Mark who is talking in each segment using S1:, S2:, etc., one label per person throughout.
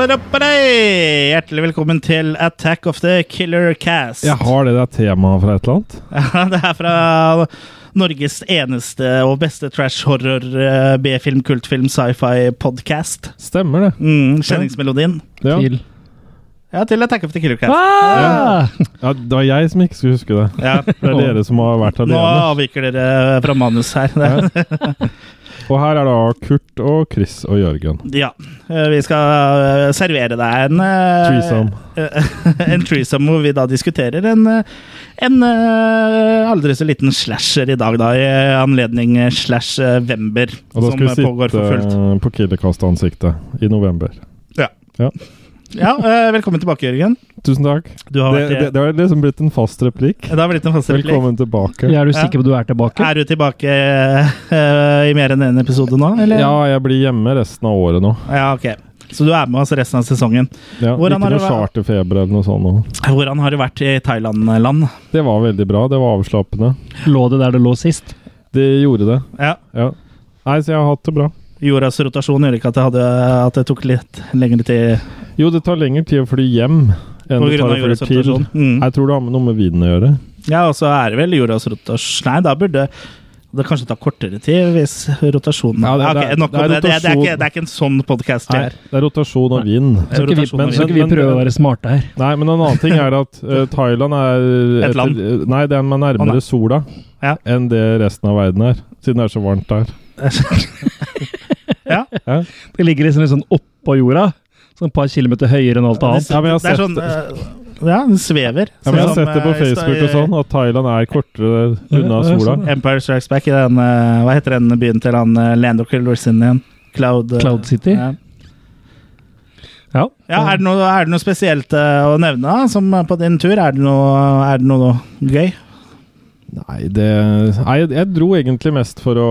S1: Juppadappadei! Hjertelig velkommen til Attack of the Killer Cast.
S2: Jeg har det der temaet fra et eller annet.
S1: Ja, det er fra Norges eneste og beste trash horror eh, B-film, kultfilm, sci-fi podcast.
S2: Stemmer det.
S1: Mm, Kjenningsmelodien.
S2: Ja.
S3: til.
S1: Ja, til Attack of the Killer Cast.
S3: Ah!
S2: Ja, det var jeg som ikke skulle huske det.
S1: Ja.
S2: Det er dere som har vært
S1: Nå
S2: alene.
S1: avviker dere fra manus her. Det er-
S2: Og her er da Kurt og Chris og Jørgen.
S1: Ja. Eh, Vi skal eh, servere deg en eh,
S2: Threesome.
S1: en threesome hvor vi da diskuterer en, eh, en eh, aldri så liten slasher i dag, da, i anledning eh, slash eh, Vember,
S2: Og da
S1: som
S2: skal
S1: eh,
S2: vi
S1: pågår
S2: sitte
S1: for fullt.
S2: eh, på Killerkast-ansiktet i november.
S1: Ja, eh, velkommen tilbake, Jørgen.
S2: Tusen takk.
S1: Du har
S2: Det,
S1: vært,
S2: det, det har liksom blitt en fast replikk.
S1: det har blitt en fast replikk.
S2: Velkommen tilbake.
S3: Er du sikker på at du er tilbake?
S1: Er du tilbake eh, i mer enn én episode nå, eller?
S2: Ja, jeg blir hjemme resten av året nå.
S1: Ja, ok. Så du er med oss resten av sesongen.
S2: Ja,
S1: Hvordan
S2: ikke
S1: har det
S2: noe
S1: vært?
S2: charterfeber eller noe sånt. nå.
S1: Hvordan har du vært i Thailand-land?
S2: Det var veldig bra. Det var avslappende.
S3: Lå det der det lå sist?
S2: Det gjorde det.
S1: Ja.
S2: Ja. Nei, så jeg har hatt det bra.
S1: Jordas rotasjon gjorde ikke at det, hadde, at det tok litt lengre tid
S2: Jo, det tar lengre tid å fly hjem enn
S1: på
S2: det
S1: grunn
S2: tar liksom.
S1: av
S2: å
S1: jordas
S2: fly til.
S1: rotasjon. Mm.
S2: Jeg tror det har med noe med vinen å gjøre.
S1: Ja, og så er det vel jordas rotasjon Nei, da burde det kanskje ta kortere tid hvis rotasjonen
S2: Ja, det-
S1: Ok,
S2: det er-
S1: nok om
S2: det
S1: det,
S2: er
S1: det, er- det, er ikke,
S2: rotasjon.
S1: det er ikke en sånn podkast.
S2: Nei, det er rotasjon av vin.
S3: Så ikke vi,
S1: rotasjon av
S3: så ikke vi
S2: vin.
S3: prøver å være smarte her.
S2: Nei, men en annen ting er at eh, Thailand er
S1: Et land.
S2: eh, nei, det er man
S1: Å, nei.
S2: nærmere sola
S1: Ja.
S2: enn det resten av verden er. Siden det er så varmt der.
S3: Det ligger liksom litt sånn oppå jorda. Sånn et par kilometer høyere enn alt annet.
S2: Ja, men jeg har
S1: det er
S2: sett
S1: sånn eh, Ja, den svever.
S2: Ja, men jeg har
S1: Sånn
S2: sett det
S1: som,
S2: på
S1: eh,
S2: Facebook og sånn, at Thailand er kortere unna
S3: Ja, det er
S2: sola.
S3: sånn,
S1: Empire Strikes Back i den eh, Hva heter den byen til han eh, Lando Calrissian igjen? Cloud, eh,
S3: Cloud City?
S1: Ja.
S3: Ja.
S1: Ja, er det, noe, er det noe spesielt eh, å nevne da, som eh, på din tur? Er det noe, er det noe gøy?
S2: Nei, det Nei, jeg, jeg dro egentlig mest for å,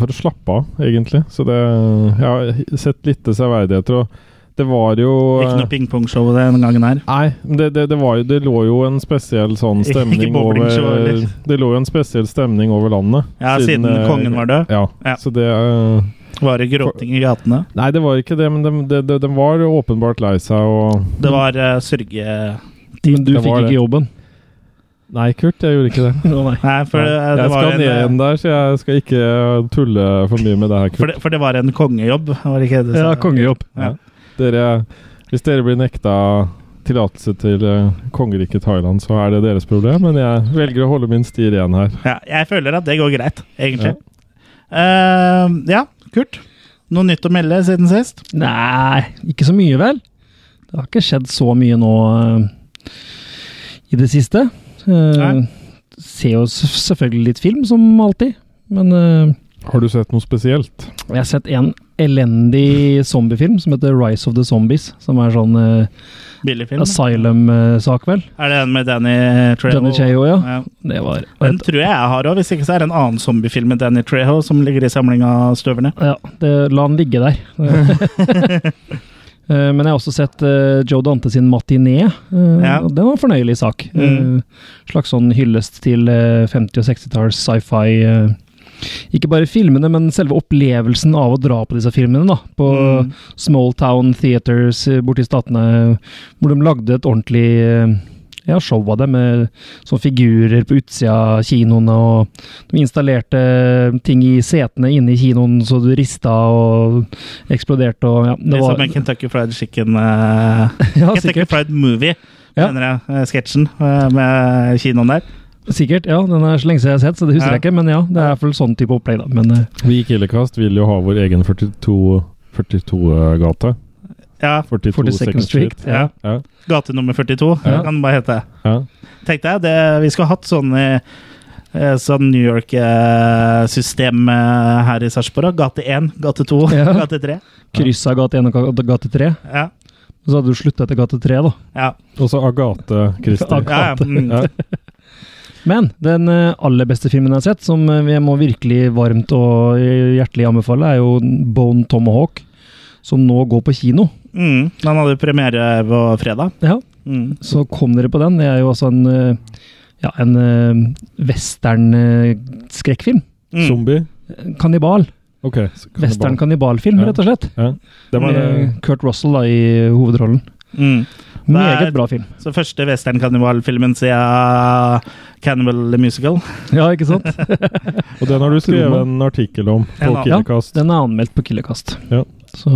S2: for å slappe av, egentlig. Så det Jeg har sett lite severdigheter, og eh, det var jo
S1: Ikke noe pingpongshow den gangen her.
S2: Nei, men det, det, det, var jo, det lå jo en spesiell sånn
S1: Ikke
S2: stemning
S1: bowlingshow,
S2: over
S1: eller?
S2: Det lå jo en spesiell stemning over landet.
S1: Ja, siden,
S2: eh,
S1: kongen var død.
S2: Ja.
S1: Ja.
S2: Så det eh,
S1: Var det gråting i gatene?
S2: Nei, det var ikke det, men de, de, de, de var åpenbart lei seg og
S1: Det var eh, sørge...
S3: Men du
S2: Det
S3: fikk
S2: var det.
S3: ikke jobben.
S2: Nei, Kurt, jeg gjorde ikke det.
S3: Å, nei.
S1: Nei, for det, det, var
S2: jeg skal ned
S1: en, eh, eh,
S2: igjen der, så jeg skal ikke tulle for mye med det her,
S1: for,
S2: Kurt.
S1: det, for det var en kongejobb, var det ikke det? du sa?
S3: Ja, kongejobb.
S2: Dere, hvis dere blir nekta tillatelse til eh, kongeriket Thailand, så er det deres problem, men jeg velger å holde min sti ren her.
S1: Ja, jeg føler at det går greit, egentlig. Ja. ja, Kurt. Noe nytt å melde siden sist?
S3: Nei, ikke så mye vel. Det har ikke skjedd så mye nå eh, i det siste. Uh,
S1: Nei.
S3: ser jo s- selvfølgelig litt film, som alltid. Men eh,
S2: Har du sett noe spesielt?
S3: Jeg har sett en elendig zombiefilm som heter Rise of the Zombies. Som er sånn eh,
S1: Billig film?
S3: asylum-sak, vel.
S1: Er det den med Danny Treho?
S3: Danny Cheo, ja.
S1: Ja.
S3: Det var
S1: Den tror jeg jeg har òg, hvis ikke så er det en annen zombiefilm med Danny Treho som ligger i samlinga av støverne.
S3: Ja, det, la den ligge der. Eh, Men jeg har også sett eh, Joe Dante sin matiné. eh,
S1: Ja.
S3: og Den var en fornøyelig sak.
S1: Mm.
S3: Eh, Slags sånn hyllest til eh, 50- og 60-talls sci-fi. eh, Ikke bare filmene, men selve opplevelsen av å dra på disse filmene. da, På
S1: Mm.
S3: small town theaters eh, borti statene, hvor de lagde et ordentlig eh, ja, show av det, med sånne figurer på utsida av kinoene. og De installerte ting i setene inne i kinoen, så du rista og eksploderte. og ja,
S1: Det
S3: det
S1: var,
S3: var,
S1: som en Kentucky Fried Chicken eh,
S3: ja
S1: Kentucky
S3: sikkert,
S1: Fried Movie,
S3: Ja.
S1: mener jeg. eh, Sketsjen eh, med kinoen der.
S3: sikkert. ja, Den er så lenge siden jeg har sett, så det husker
S1: Ja.
S3: jeg ikke. Men ja, det er vel sånn type opplegg, da. Men eh,
S2: Vi i Killekast vil jo ha vår egen 42 42-gate.
S1: Ja,
S2: 42
S3: 42nd Street.
S1: ja.
S3: Ja.
S2: Ja,
S1: Gate nummer 42,
S2: Ja.
S1: kan det bare hete.
S2: ja.
S1: Tenk deg, det, vi skulle hatt sånn i eh, Sånn New York-system eh, her i Sarpsborg. Gate 1, gate 2,
S3: Ja.
S1: gate 3.
S3: Kryssa gate 1 og ga- gate 3.
S1: Ja.
S3: Så hadde du slutta etter gate 3, da.
S1: ja.
S2: Og så Agathe Christie.
S3: Ag-
S1: ja, ja. Mm.
S2: Ja.
S3: Men den eh, aller beste filmen jeg har sett, som eh, jeg må virkelig varmt og hjertelig anbefale, er jo Bone Tomahawk, som nå går på kino.
S1: Mm. Han hadde premiere på fredag.
S3: Ja.
S1: Mm.
S3: Så kom dere på den. Det er jo altså en, eh, ja, en eh, western eh, skrekkfilm.
S1: Mm.
S2: Zombie.
S3: Kannibal.
S2: Ok. så kan det
S3: Western eh, kannibalfilm,
S2: Ja.
S3: rett og slett.
S2: bare- ja. Det var det.
S3: Med Kurt Russell da, i hovedrollen.
S1: Mm. er-
S3: Meget bra film.
S1: Så første western-kannibalfilmen siden Cannibal the Musical.
S3: Ja, ikke sant?
S2: Og den har du skrevet
S3: Truman.
S2: en artikkel om på
S1: En annen.
S2: Kinecast.
S3: Den er anmeldt på Killerkast.
S2: Ja.
S3: Så,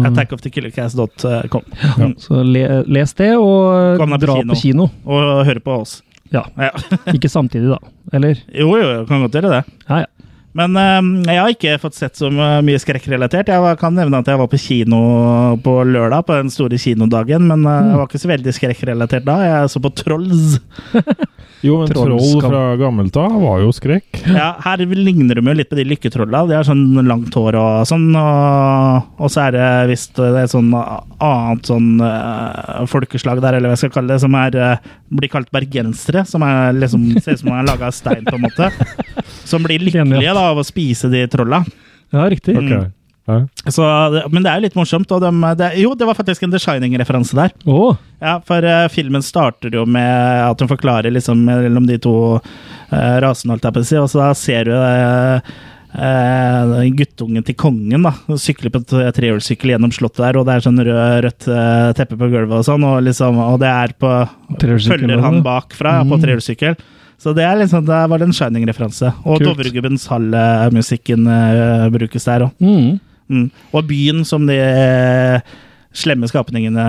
S1: Attackofthekillercast.com.
S3: så le, les det, og
S1: Kom deg på
S3: dra
S1: kino.
S3: på kino.
S1: Og hør på oss.
S3: Ja.
S1: Ja.
S3: Ikke samtidig, da. Eller?
S1: Jo, jo, jo, kan godt gjøre det.
S3: Ja, ja.
S1: Men eh, jeg har ikke fått sett så mye skrekkrelatert. Jeg var- kan nevne at jeg var på kino på lørdag, på den store kinodagen, men eh, jeg var ikke så veldig skrekkrelatert da. Jeg så på Trolls.
S2: Jo, men
S3: Trolls
S2: Troll
S3: kan-
S2: fra gammelt av var jo skrekk.
S1: Ja, her ligner de jo litt på de lykketrolla. De har sånn langt hår og sånn. Og, og så er det visst det er sånn annet sånn eh, folkeslag der, eller hva jeg skal kalle det, som er, eh, blir kalt bergensere. Som er liksom, ser ut som man er laga av stein, på en måte. Som blir lykkelige da, av å spise de trolla.
S3: Ja, riktig.
S2: Ok.
S1: Mm.
S2: Ja.
S1: Så, det- men det er jo litt morsomt. Og de, det, jo, det var faktisk en The Shining-referanse der.
S3: Å!
S1: Ja, for eh, filmen starter jo med at hun forklarer liksom mellom de to eh, rasene, holdt jeg på å si, og så da ser du eh, eh, guttungen til kongen da, og sykler på et trehjulssykkel gjennom slottet der, og det er sånn rød, rødt eh, teppe på gulvet og sånn, og, liksom, og det er på
S3: Trehjulssykkel,
S1: Følger han
S3: da.
S1: bakfra ja, på
S3: Mm.
S1: trehjulssykkel. Så det er liksom, det var en Shining-referanse. Og
S3: Kult.
S1: Dovregubbens hall-musikken eh, brukes der òg.
S3: Mm.
S1: Mm. Og byen som de eh, slemme skapningene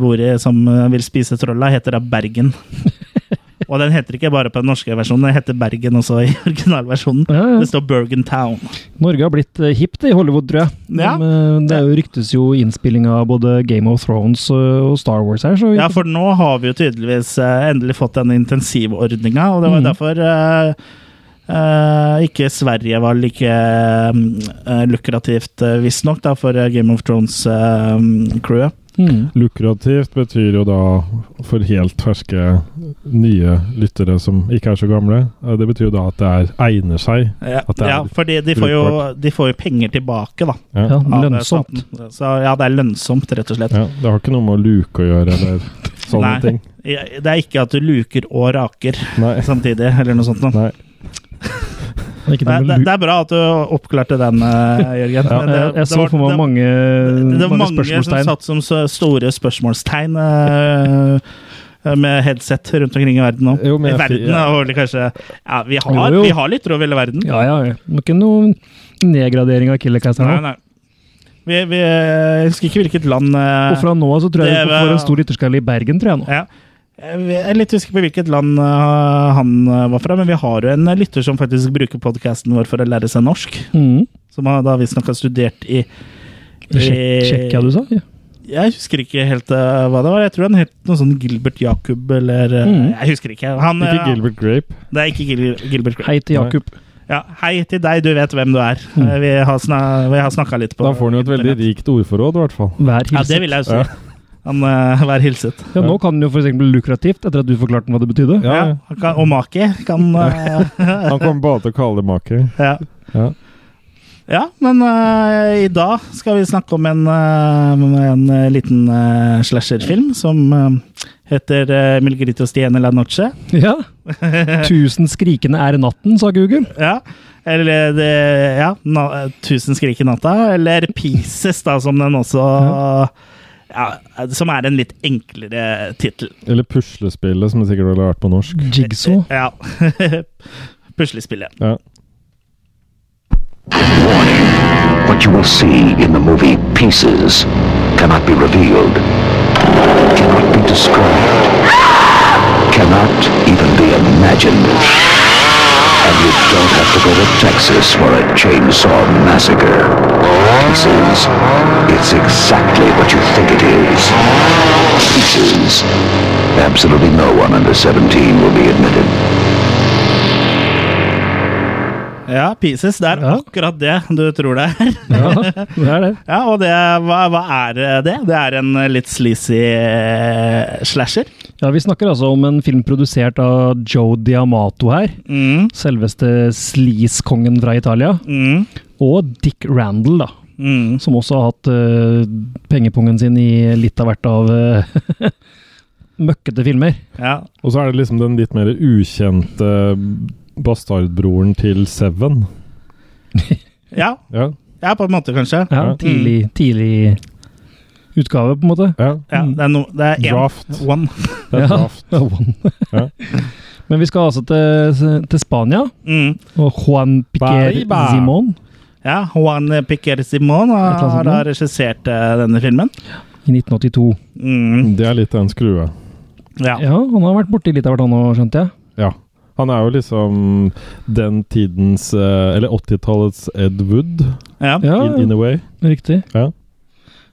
S1: bor i, som eh, vil spise trolla, heter da Bergen. Og den heter ikke bare på den norske versjonen, den heter Bergen også i originalversjonen.
S3: Ja, ja.
S1: Det står Bergen Town.
S3: Norge har blitt eh, hipt i Hollywood, tror jeg.
S1: Ja.
S3: Men, eh, det er jo ryktes jo innspilling av både Game of Thrones eh, og Star Wars her, så
S1: Ja, for nå har vi jo tydeligvis eh, endelig fått den intensivordninga, og det var
S3: Mm.
S1: derfor eh, eh, ikke Sverige var like eh, lukrativt, uh, visstnok, da, for eh, Game of eh, Thrones-crewet.
S3: mm.
S2: Lukrativt betyr jo da for helt ferske nye lyttere som ikke er så gamle. eh, Det betyr jo da at det er, egner seg.
S1: Ja,
S2: At det er
S1: ja fordi de får, jo, de får jo penger tilbake, da.
S3: ja,
S2: Ja.
S1: av eh,
S3: lønnsomt.
S1: staten. Så ja, det er lønnsomt, rett og slett.
S2: Ja, det har ikke noe med å luke å gjøre eller sånne
S1: Nei.
S2: ting.
S1: Det er ikke at du luker og raker
S2: Nei.
S1: samtidig, eller noe sånt. Noe.
S2: Nei.
S3: Ikke
S1: Nei,
S3: noe
S1: det,
S3: med lu-
S1: det er bra at du oppklarte den, eh, Jørgen.
S2: Ja,
S1: Men det-
S3: jeg, jeg så
S1: det var-
S3: for meg
S1: det-
S3: mange,
S1: det, det var
S3: mange
S1: mange som
S3: spørsmålstegn.
S1: satt som så store spørsmålstegn eh, med headset rundt omkring i verden
S3: Eh,
S1: nå.
S2: Jo, men
S1: I
S2: jeg-
S1: verden,
S2: ja.
S1: og kanskje Ja, vi har,
S3: Jo, jo.
S1: vi har litt råd i hele verden.
S3: Ja, ja, ja. Det var Ikke noe nedgradering av Killercast her
S1: Nei,
S3: nå.
S1: nei. Vi, vi, jeg husker ikke hvilket land eh,
S3: Og fra nå av så tror jeg
S1: det
S3: vi
S1: var-
S3: får en stor ytterskalle i Bergen, tror jeg nå.
S1: Ja. Jeg er litt usikker på hvilket land eh, han eh, var fra, men vi har jo en lytter som faktisk bruker podkasten vår for å lære seg norsk.
S3: Mm.
S1: Som har da visstnok har studert i
S3: Sjek- Sjekk, ja, du sa? Ja.
S1: Jeg husker ikke helt eh, hva det var. Jeg tror han het noe sånn Gilbert Jacob eller eh,
S3: Mhm.
S1: Jeg husker ikke. Han, eh,
S2: Ikke Gilbert Grape.
S1: Det er ikke Gil Gilbert Grape.
S3: Hei til Jakob.
S1: Ja, hei til deg, du vet hvem du er.
S3: Mhm.
S1: Eh, Vi har, sna vi har snakka litt på
S2: Da får han jo et veldig
S1: internett.
S2: rikt ordforråd, i hvert fall.
S3: Vær
S1: Ja, det
S3: hilset.
S1: vil jeg jo si.
S2: Ja.
S1: Han eh, vær hilset.
S3: Ja, nå kan den jo for eksempel bli lukrativt, etter at du forklarte den hva det betydde.
S2: Ja,
S1: Ja, han kan, og Maki kan eh,
S2: Han kommer bare til å kalle det maker.
S1: Ja.
S2: Ja.
S1: Ja, men eh, i dag skal vi snakke om en, eh, en eh, liten eh, slasherfilm som eh, heter eh, Milgrito Stiene la Noche.
S3: Ja. Tusen skrikende er natten, sa Google.
S1: Ja. Eller eh, det, ja, na, Tusen skrik i natta, eller Pieces, da, som den også ja, Som er en litt enklere tittel.
S2: Eller puslespillet, som det sikkert ville vært på norsk.
S3: Jigsaw.
S1: Ja. Puslespillet.
S2: Ja.
S4: What you will see in the movie Pieces cannot be revealed, cannot be described, cannot even be imagined. And you don't have to go to Texas for a chainsaw massacre. Pieces, it's exactly what you think it is. Pieces. Absolutely no one under 17 will be admitted.
S1: Ja, Pieces. Det er
S3: Ja.
S1: akkurat det du tror det er.
S3: Ja, det er det.
S1: Ja, og det, hva, hva er det? Det er en litt sleazy eh, slasher.
S3: Ja, Vi snakker altså om en film produsert av Joe Diamato her.
S1: Mm,
S3: Selveste sleaze-kongen fra Italia.
S1: mm,
S3: Og Dick Randall, da.
S1: mm.
S3: Som også har hatt eh, pengepungen sin i litt av hvert av eh, møkkete filmer.
S1: Ja.
S2: Og så er det liksom den litt mer ukjente eh, bastardbroren til Seven.
S1: ja.
S2: Ja.
S1: Ja, på en måte, kanskje.
S3: Ja, Mm.
S2: Ja.
S3: tidlig, tidlig utgave, på en måte.
S2: Ja.
S1: Ja,
S3: Mm.
S1: det er no, det er én.
S2: Draft.
S1: One.
S2: Det er
S3: Ja.
S2: draft. Ja.
S3: Men vi skal altså til, til Spania,
S1: Mm.
S3: og Juan Piquer
S2: Bariba.
S3: Simon
S1: Ja, Juan Piquer Simon har,
S3: Et eller annet
S1: har
S3: sånt.
S1: da regissert eh, denne filmen.
S3: i 1982.
S1: Mm.
S2: Det er litt av en skrue.
S1: Ja.
S3: Ja, han har vært borti litt av hvert, han òg, skjønte jeg.
S2: Ja. Han er jo liksom den tidens eh, Eller 80-tallets Ed Wood,
S1: Ja.
S3: Ja,
S2: in, in a way.
S3: riktig.
S2: Ja.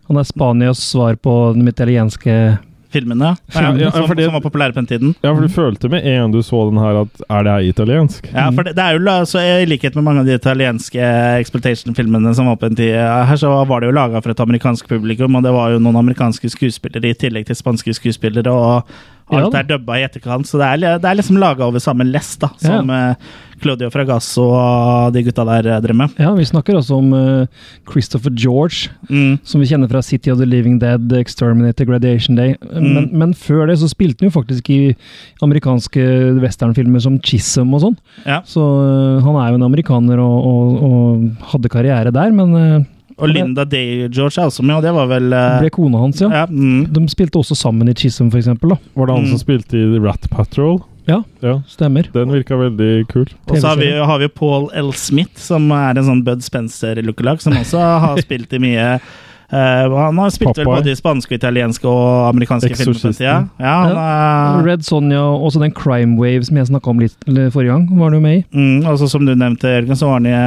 S3: Han er Spanias svar på den italienske
S1: Filmene ja,
S2: Filmene, ja,
S1: som,
S2: for det-
S1: som var populære på den tiden.
S2: Ja, for du følte med en gang du så den her, at er det her italiensk?
S1: Ja, for det, det er jo la- så I likhet med mange av de italienske exploitation-filmene som var på en tid eh, her, så var det jo laga for et amerikansk publikum, og det var jo noen amerikanske skuespillere i tillegg til spanske skuespillere, og
S3: Ja
S1: alt
S3: da.
S1: er dubba i etterkant, så det er, li- det er liksom laga over samme lest, da,
S3: Ja.
S1: som eh, Claudio Fragasso og de gutta der eh, drev med.
S3: Ja, vi snakker altså om eh, Christopher George,
S1: Mm.
S3: som vi kjenner fra City of the Living Dead, Exterminator, Graduation Day. Men, men før det så spilte han jo faktisk i amerikanske westernfilmer som Chisholm og sånn.
S1: Ja.
S3: Så eh, han er jo en amerikaner og, og, og hadde karriere der, men eh,
S1: Og Linda Day-George er også med, og det var vel eh,
S3: ble kona hans, ja.
S1: ja, mm,
S3: De spilte også sammen i Chisholm, for eksempel. Da.
S2: Var det han
S1: Mm.
S2: som spilte i Rat Patrol?
S3: Ja.
S2: ja.
S3: Stemmer.
S2: Den virka veldig kul.
S1: Og så har vi,
S3: TV-serie.
S1: har vi Paul L. Smith, som er en sånn Bud Spencer-lookalike, som også har spilt i mye eh, Han har spilt vel
S2: Popeye.
S1: både i spanske, italienske og amerikanske filmer. på den
S2: Exorcisten.
S1: tida. Ja, han er,
S3: Red Sonja og også den Crime Wave som jeg snakka om litt eller forrige gang, var du med i.
S1: mm, og så som du nevnte, Jørgen, så var han i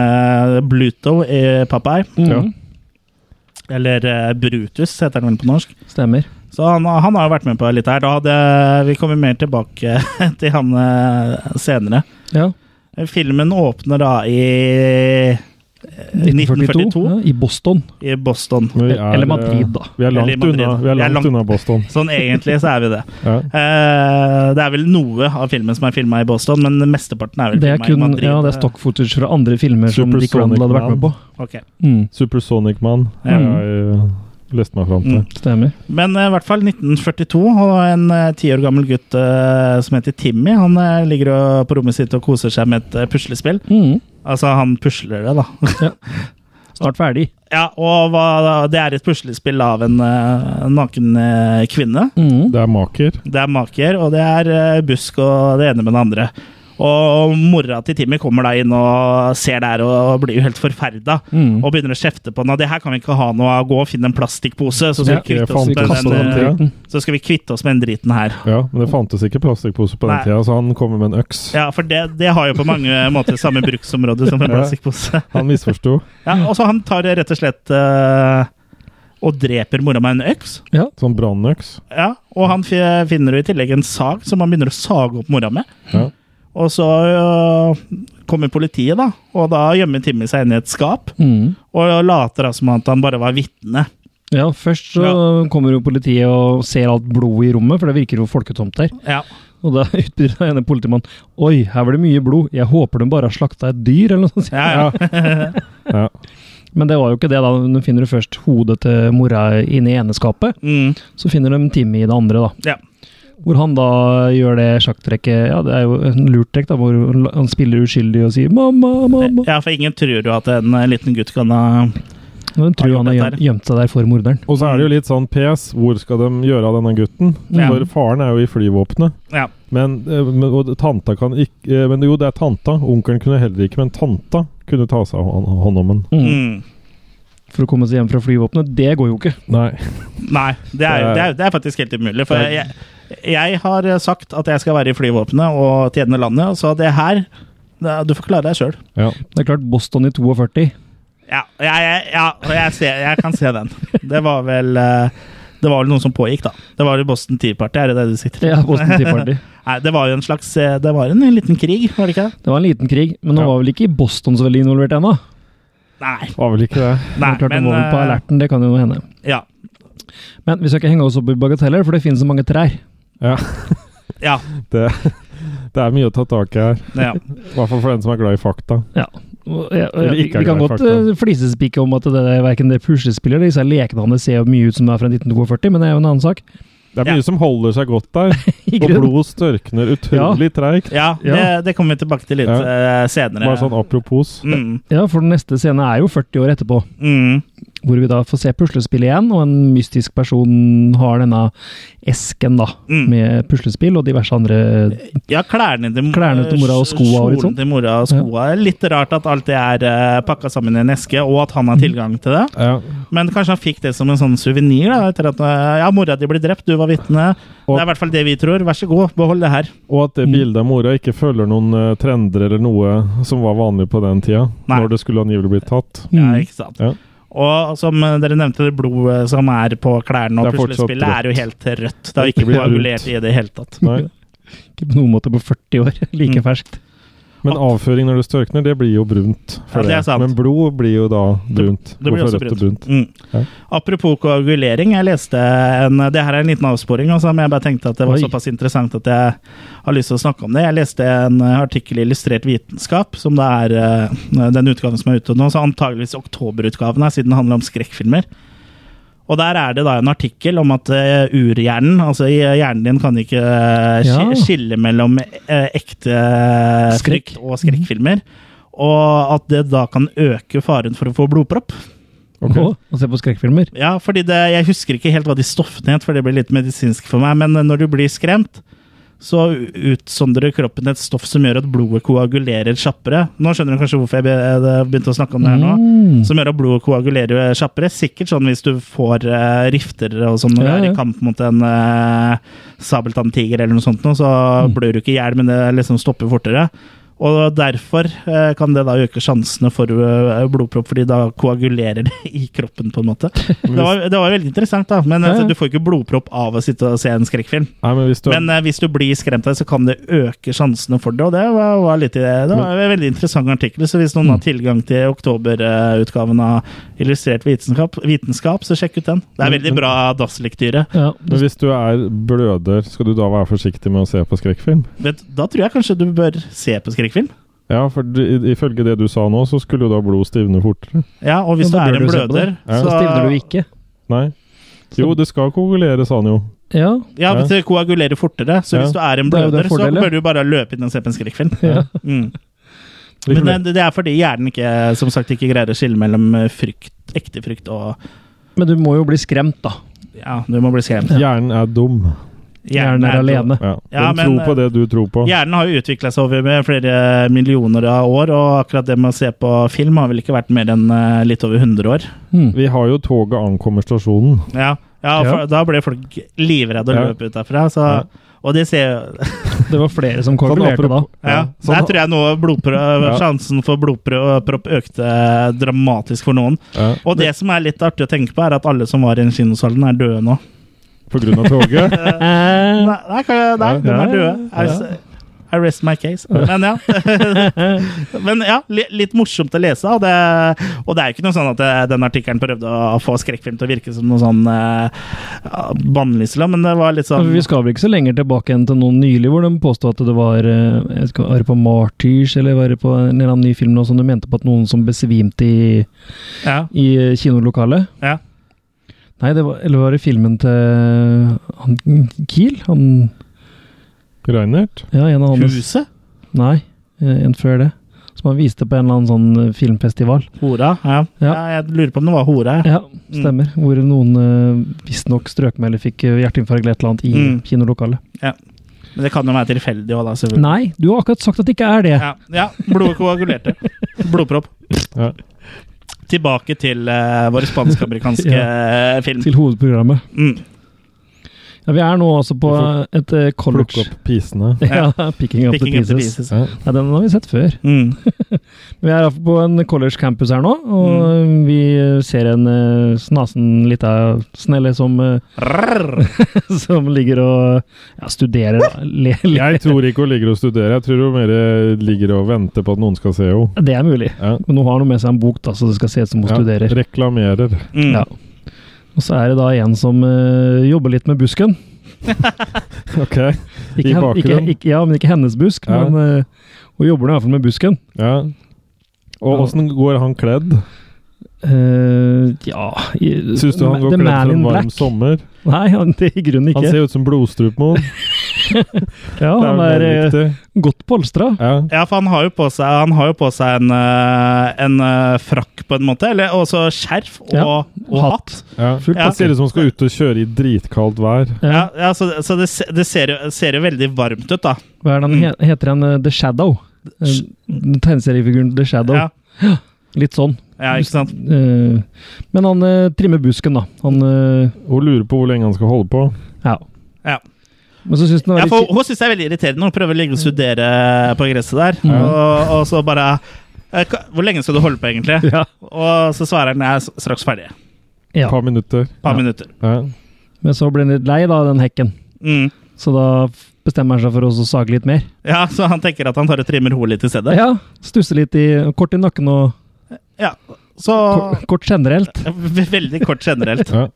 S1: eh, Bluto i Popeye.
S2: Ja.
S3: Mm.
S1: Eller eh, Brutus, heter han vel på norsk.
S3: Stemmer.
S1: Så han, han har jo vært med på litt her. Da hadde, vi kommer mer tilbake til han eh, senere.
S3: Ja.
S1: Filmen åpner da i
S3: 1942,
S1: 1942
S3: Ja, i Boston.
S1: i Boston.
S2: Men vi
S3: Eller Madrid, da.
S2: Vi er eh,
S1: Eller i
S2: langt,
S1: Madrid.
S2: unna, vi er langt, unna Boston.
S1: Sånn egentlig så er vi det.
S2: Ja.
S1: Eh, det er vel noe av filmen som er filma i Boston, men mesteparten er vel
S3: Det er
S1: filmet
S3: kun
S1: i Madrid. eh,
S3: ja, det er stock footage fra andre filmer som Dick
S2: Supersonic
S3: Randall hadde vært med på.
S1: Ok.
S3: Mm,
S2: Supersonic Man
S1: Ja.
S2: har jeg eh, lest meg fram til.
S1: Mm.
S3: stemmer.
S1: Men eh, i hvert fall 1942, og en ti år gammel gutt eh, som heter Timmy, han eh, ligger og- på rommet sitt og koser seg med et eh, puslespill.
S3: Mm,
S1: Altså, han pusler det, da.
S3: snart ferdig.
S1: ja, og hva, det er et puslespill av en eh, naken eh, kvinne.
S3: Mm.
S2: Det er maker.
S1: Det er maker, og det er eh, busk og det ene med det andre. Og mora til Timmy kommer da inn og ser der og blir jo helt forferda.
S3: Mm.
S1: Og begynner å kjefte på henne. Det her kan vi ikke ha noe av. Gå og finn en plastikkpose, så skal,
S3: Ja,
S1: vi kvitte
S2: det
S1: oss
S2: fant
S1: med
S2: kaster
S1: den,
S2: den til, ja.
S1: eh, så skal vi kvitte oss med den driten her.
S2: Ja, men det fantes ikke plastikkpose på den
S1: Mm. Nei.
S2: tida, så han kommer med en øks.
S1: Ja, for det, det har jo på mange måter samme bruksområde som en
S2: Ja.
S1: plastikkpose.
S2: Han misforsto.
S1: Ja, og så han tar rett og slett eh, og dreper mora med en øks.
S2: Sånn brannøks.
S1: Ja, og han fi- finner jo i tillegg en sag som han begynner å sage opp mora med.
S2: Ja.
S1: Og så øh, kommer politiet, da, og da gjemmer Timmy seg inne i et skap.
S3: Mm.
S1: Og later da som at han bare var vitne.
S3: Ja, først så kommer jo politiet og ser alt blodet i rommet, for det virker jo folketomt der.
S1: Ja.
S3: Og da utbyr den ene politimannen Oi, her var det mye blod. Jeg håper de bare har slakta et dyr, eller noe sånt.
S1: Ja, ja.
S2: Ja.
S3: Men det var jo ikke det, da. Nå finner du først hodet til mora inne i ene skapet.
S1: Mm,
S3: Så finner de Timmy i det andre, da.
S1: ja.
S3: Hvor han da gjør det sjakktrekket Ja, det er jo en lurt trekk, da, hvor han spiller uskyldig og sier 'mamma, mamma'.
S1: ja, for ingen tror jo at en eh, liten gutt kan ha
S3: Og de tror han har
S1: Akkurat
S3: gjem-
S1: der.
S3: gjemt seg der for morderen.
S2: Og så er det jo litt sånn pes. Hvor skal de gjøre av denne gutten?
S1: Ja.
S2: For faren er jo i flyvåpenet.
S1: Ja.
S2: Men, eh, men og tanta kan ikke eh, Men jo, det er tanta. Onkelen kunne heller ikke, men tanta kunne ta seg av hå- hånd om den.
S3: Mm.
S1: Mm.
S3: For å komme seg hjem fra flyvåpenet. Det går jo ikke.
S2: Nei.
S1: Nei, det er, det, er, det er faktisk helt umulig. For jeg, jeg har eh, sagt at jeg skal være i flyvåpenet og tjene landet, så det her det- Du får klare deg sjøl.
S2: Ja.
S3: Det er klart, Boston i 42
S1: Ja, jeg, jeg, ja og jeg, ser, jeg kan se den. Det var vel eh, Det var vel noe som pågikk, da. Det var jo Boston Tea Party, er det det du sikter til?
S3: Ja, Boston Tea Party.
S1: Nei, det var jo en slags eh, Det var en liten krig, var det ikke? det?
S3: Det var en liten krig, men nå
S2: Ja.
S3: var vel ikke Boston så veldig involvert ennå.
S1: Nei.
S2: Var vel ikke det.
S3: Det
S1: nei
S3: er klart, men, var vel på
S1: eh,
S3: alerten, det kan jo hende.
S1: ja,
S3: Men vi skal ikke henge oss opp i bagateller, for det finnes så mange trær.
S2: Ja.
S1: ja,
S2: Det er mye å ta tak i her.
S1: ja.
S2: I hvert fall for den som er glad i fakta.
S3: Og jeg- og
S2: Eller
S3: jeg-
S2: ikke er
S3: Vi kan
S2: glad i
S3: godt
S2: fakta.
S3: eh, flisespikke om at det er verken det puslespillet eller disse lekene hans ser jo mye ut som det er fra 1942, men det er jo en annen sak.
S2: Det er mye
S1: Ja.
S2: som holder seg godt der,
S3: I
S2: og
S3: grunnen.
S2: blodet størkner utrolig treigt.
S1: Ja,
S3: Ja.
S1: Det, det kommer vi tilbake til litt
S2: Ja.
S1: eh, senere.
S2: Bare sånn apropos.
S1: mm,
S3: Ja, for den neste scenen er jo 40 år etterpå,
S1: mm,
S3: hvor vi da får se puslespillet igjen, og en mystisk person har denne esken da,
S1: Mm.
S3: med puslespill og diverse andre
S1: ja, klærne til,
S3: Klærne til mora og skoa og litt
S1: Kjolen
S3: sånn.
S1: til mora og skoa. Litt rart at alt det er eh, pakka sammen i en eske, og at han
S3: Mm.
S1: har tilgang til det.
S2: Ja.
S1: Men kanskje han fikk det som en sånn suvenir, da, etter at eh, ja, mora di ble drept, du var vitne.
S2: Og-
S1: Det er i hvert fall det vi tror. Vær så god, behold det her.
S2: Og at det
S1: Mm.
S2: bildet av mora ikke følger noen eh, trender eller noe som var vanlig på den tida,
S1: Nei.
S2: når det skulle angivelig bli tatt.
S1: Ja,
S3: Mm.
S1: ikke sant?
S2: Ja.
S1: Og som eh, dere nevnte, det blodet som er på klærne og
S2: Det er fortsatt
S1: puslespillet, er jo helt rødt. Det har
S2: Det
S1: ikke
S2: blir brunt.
S1: koagulert i det hele tatt.
S2: Nei.
S3: Ikke på noen måte på 40 år, like
S1: Mm.
S3: ferskt.
S2: Men avføring når det størkner, det blir jo brunt.
S1: Ja,
S2: For
S1: det er sant.
S2: Men blod blir jo da brunt.
S1: Det blir
S2: Går fra
S1: også
S2: rødt til
S1: brunt.
S2: Ja.
S1: Mm. Apropos koagulering, jeg leste en Det her er en liten avsporing, altså, men jeg bare tenkte at det var
S3: Oi.
S1: såpass interessant at jeg har lyst til å snakke om det. Jeg leste en eh, artikkel i Illustrert vitenskap, som da er eh, den utgaven som er ute nå, så antageligvis oktoberutgaven her, siden det handler om skrekkfilmer. Og der er det da en artikkel om at eh, urhjernen, altså i- hjernen din kan ikke eh,
S3: Ja.
S1: ski- skille mellom eh, ekte skrekk
S3: Skrekk.
S1: og skrekkfilmer, og at det da kan øke faren for å få blodpropp.
S2: Ok.
S3: Å, å se på skrekkfilmer.
S1: Ja, fordi det, jeg husker ikke helt hva de stoffene het, for det blir litt medisinsk for meg. Men når du blir skremt, så utsondrer kroppen et stoff som gjør at blodet koagulerer kjappere. Nå skjønner du kanskje hvorfor jeg be- jeg begynte å snakke om det her nå.
S3: Mm.
S1: Som gjør at blodet koagulerer kjappere. Sikkert sånn hvis du får eh, rifter og sånn når
S3: Ja,
S1: du er
S3: ja.
S1: i kamp mot en uh, sabeltanntiger eller noe sånt, nå, så
S3: Mm.
S1: blør du ikke i hjel, men det liksom stopper fortere. Og derfor eh, kan det da øke sjansene for eh, blodpropp, fordi da koagulerer det i kroppen, på en måte. Det var, det var veldig interessant, da. Men
S3: Ja, ja.
S1: altså, du får ikke blodpropp av å sitte og se en skrekkfilm.
S2: Nei, men hvis du
S1: Men eh, hvis du blir skremt av det, så kan det øke sjansene for det. Og det var, var litt i det. Det var en veldig interessant artikkel. Så hvis noen
S3: Mm.
S1: har tilgang til oktoberutgaven av Illustrert vitenskap, vitenskap, så sjekk ut den. Det
S3: Mm,
S1: er veldig bra dasslektyre.
S3: Ja,
S2: men hvis du er bløder, skal du da være forsiktig med å se på skrekkfilm?
S1: Vet- Da tror jeg kanskje du bør se på skrekkfilm.
S2: Ja, for du, i- ifølge det du sa nå, så skulle jo da blod stivne fortere.
S1: Ja, og hvis
S3: Ja,
S1: du
S3: da bør
S1: er en
S3: du se på
S1: bløder,
S3: det. så stivner du ikke.
S2: Nei. Jo, det skal koagulere, sa han jo.
S3: Ja,
S1: Ja, hvis det koagulerer fortere. Så
S2: Ja.
S1: hvis du er en
S3: Det er jo det
S1: bløder, så
S3: fordelen.
S1: bør du bare løpe inn og se på en skrekkfilm.
S2: Ja.
S1: Mm.
S2: Likevel.
S1: Men eh, det, det er fordi hjernen ikke, som sagt, ikke greier å skille mellom eh, frykt, ekte frykt og
S3: men du må jo bli skremt, da.
S1: Ja, du må bli skremt.
S2: Hjernen er dum.
S3: Hjernen er alene.
S2: Ja.
S1: Ja,
S2: Den
S1: men, eh,
S2: tror på det du tror på.
S1: Hjernen har jo utvikla seg over med flere millioner av år, og akkurat det med å se på film har vel ikke vært mer enn eh, litt over 100 år.
S3: Mm.
S2: Vi har jo toget ankommer stasjonen. Sånn
S1: Ja, ja,
S3: Ja.
S1: for, Da ble folk livredde og
S2: Ja.
S1: løp ut derfra. Så,
S2: Ja.
S1: Og de ser jo
S3: Det var flere som koagulerte da.
S2: apropos-
S1: ja,
S2: sånn-
S1: Der tror jeg noe blodprøv,
S2: Ja.
S1: sjansen for blodpropp økte dramatisk for noen.
S2: ja,
S1: Og det som er litt artig å tenke på, er at alle som var i den kinosalen, er døde nå.
S2: på grunn av toget.
S1: Nei,
S3: Eh,
S1: nei, kan- nei
S2: Ja.
S1: de er døde. I,
S2: Ja.
S1: s- I rest my case. Men ja. Men ja, li- litt morsomt å lese. Og det, og det er jo ikke noe sånn at eh, den artikkelen prøvde å få skrekkfilm til å virke som noe sånn eh, ja, bannlysela, men det var litt
S3: ja,
S1: sånn
S3: for vi skal vel ikke så lenger tilbake enn til noen nylig hvor de påstod at det var eh, jeg vet ikke, Var det på Martyrs eller var det på en eller annen ny film nå som de mente på at noen som besvimte i,
S1: ja,
S3: i eh, kinolokalet?
S1: ja.
S3: Nei, det var, eller var det filmen til han Kiel? Han,
S2: Reinert?
S3: ja, en av hans
S1: Huset?
S3: Nei, eh, en før det. Som han viste på en eller annen sånn eh, filmfestival.
S1: Hora? Ja.
S3: Ja.
S1: ja. Jeg lurer på om det var hora. Ja. Mm.
S3: Ja, stemmer. Hvor noen eh, visstnok strøk med eller fikk eh, hjerteinfarkt eller et eller annet i
S1: Mm.
S3: kinolokalet.
S1: Men det kan jo være tilfeldig òg, da. selvfølgelig.
S3: Nei, du har akkurat sagt at det ikke er det.
S1: Ja, ja blodet koagulerte. Blodpropp.
S2: Ja.
S1: Tilbake til eh, vår spansk-amerikanske eh, film.
S3: Til hovedprogrammet.
S1: Mm.
S3: Ja, vi er nå altså på
S2: Vi
S3: eh, et eh,
S2: Plukk
S3: college.
S2: opp pisene.
S3: Ja, picking up
S1: Picking
S3: the pieces.
S2: Ja.
S3: Ja, den har vi sett før.
S1: Mm.
S3: Vi er iallfall på en college campus her nå, og eh, vi ser en eh, snasen lita snelle som, eh,
S1: Rrrr.
S3: som ligger og ja, studerer. da. Le, le.
S2: Jeg tror ikke hun ligger og studerer, jeg tror hun mer ligger og venter på at noen skal se henne.
S3: Det er mulig.
S2: Ja.
S3: Men hun har noe med seg en bok, da, så det skal se ut som hun
S2: Ja,
S3: studerer.
S2: Reklamerer.
S1: Mm.
S3: Ja. Og så er det da en som eh, jobber litt med busken.
S2: Ok.
S3: Ikke,
S2: I
S3: hen- ikke,
S2: bakgrunnen.
S3: ikke, ja, men ikke hennes busk,
S2: Ja.
S3: men eh, hun jobber nå i hvert fall med busken.
S2: Ja. Og åssen går han kledd?
S3: Eh, ja i-
S2: Syns du han går
S3: The
S2: kledd
S3: Man
S2: for en
S3: in
S2: varm
S3: Black.
S2: sommer?
S3: Nei, han, det er i grunnen
S2: Han
S3: ikke.
S2: ser ut som Blodstrupmoen.
S3: ja, han er eh, godt polstra.
S2: ja.
S1: Ja, for han har jo på seg, han har jo på seg en, eh, en eh, frakk, på en måte. Eller også skjerf og,
S3: Ja,
S1: og hatt.
S2: Ja.
S3: Fullt
S1: Ja.
S2: Han ser ut som han skal ut og kjøre i dritkaldt vær.
S1: Ja, ja, Så, så det, se- det ser, jo, ser jo veldig varmt ut, da.
S3: Hva er den he
S2: Mm.
S3: heter han? eh, The Shadow? Eh, Tegneseriefiguren The Shadow.
S1: Ja,
S3: Litt sånn.
S1: ja ikke sant?
S3: Eh, men han eh, trimmer busken, da. Han eh,
S2: Hun lurer på hvor lenge han skal holde på.
S3: Ja.
S1: Ja.
S3: Men så syns den var
S1: Ja,
S3: litt
S1: for Hun syns det er veldig irriterende. Hun prøver å ligge og studere på gresset der.
S3: Ja.
S1: Og, og så bare eh, ka- Hvor lenge skal du holde på, egentlig?
S3: Ja.
S1: Og så svarer han jeg er s- straks ferdig.
S3: ja.
S2: Et par minutter.
S1: Et par
S3: Ja.
S1: minutter.
S2: Ja.
S3: Men så ble han litt lei, da, den hekken.
S1: Mm.
S3: Så da f- bestemmer han seg for å også sage litt mer.
S1: Ja, Så han tenker at han tar og trimmer hodet litt i stedet.
S3: Ja, Stusse litt i Kort i nakken og
S1: Ja, Så
S2: Ah.
S3: kort, kort generelt.
S1: ve- Veldig kort generelt.
S2: Ja.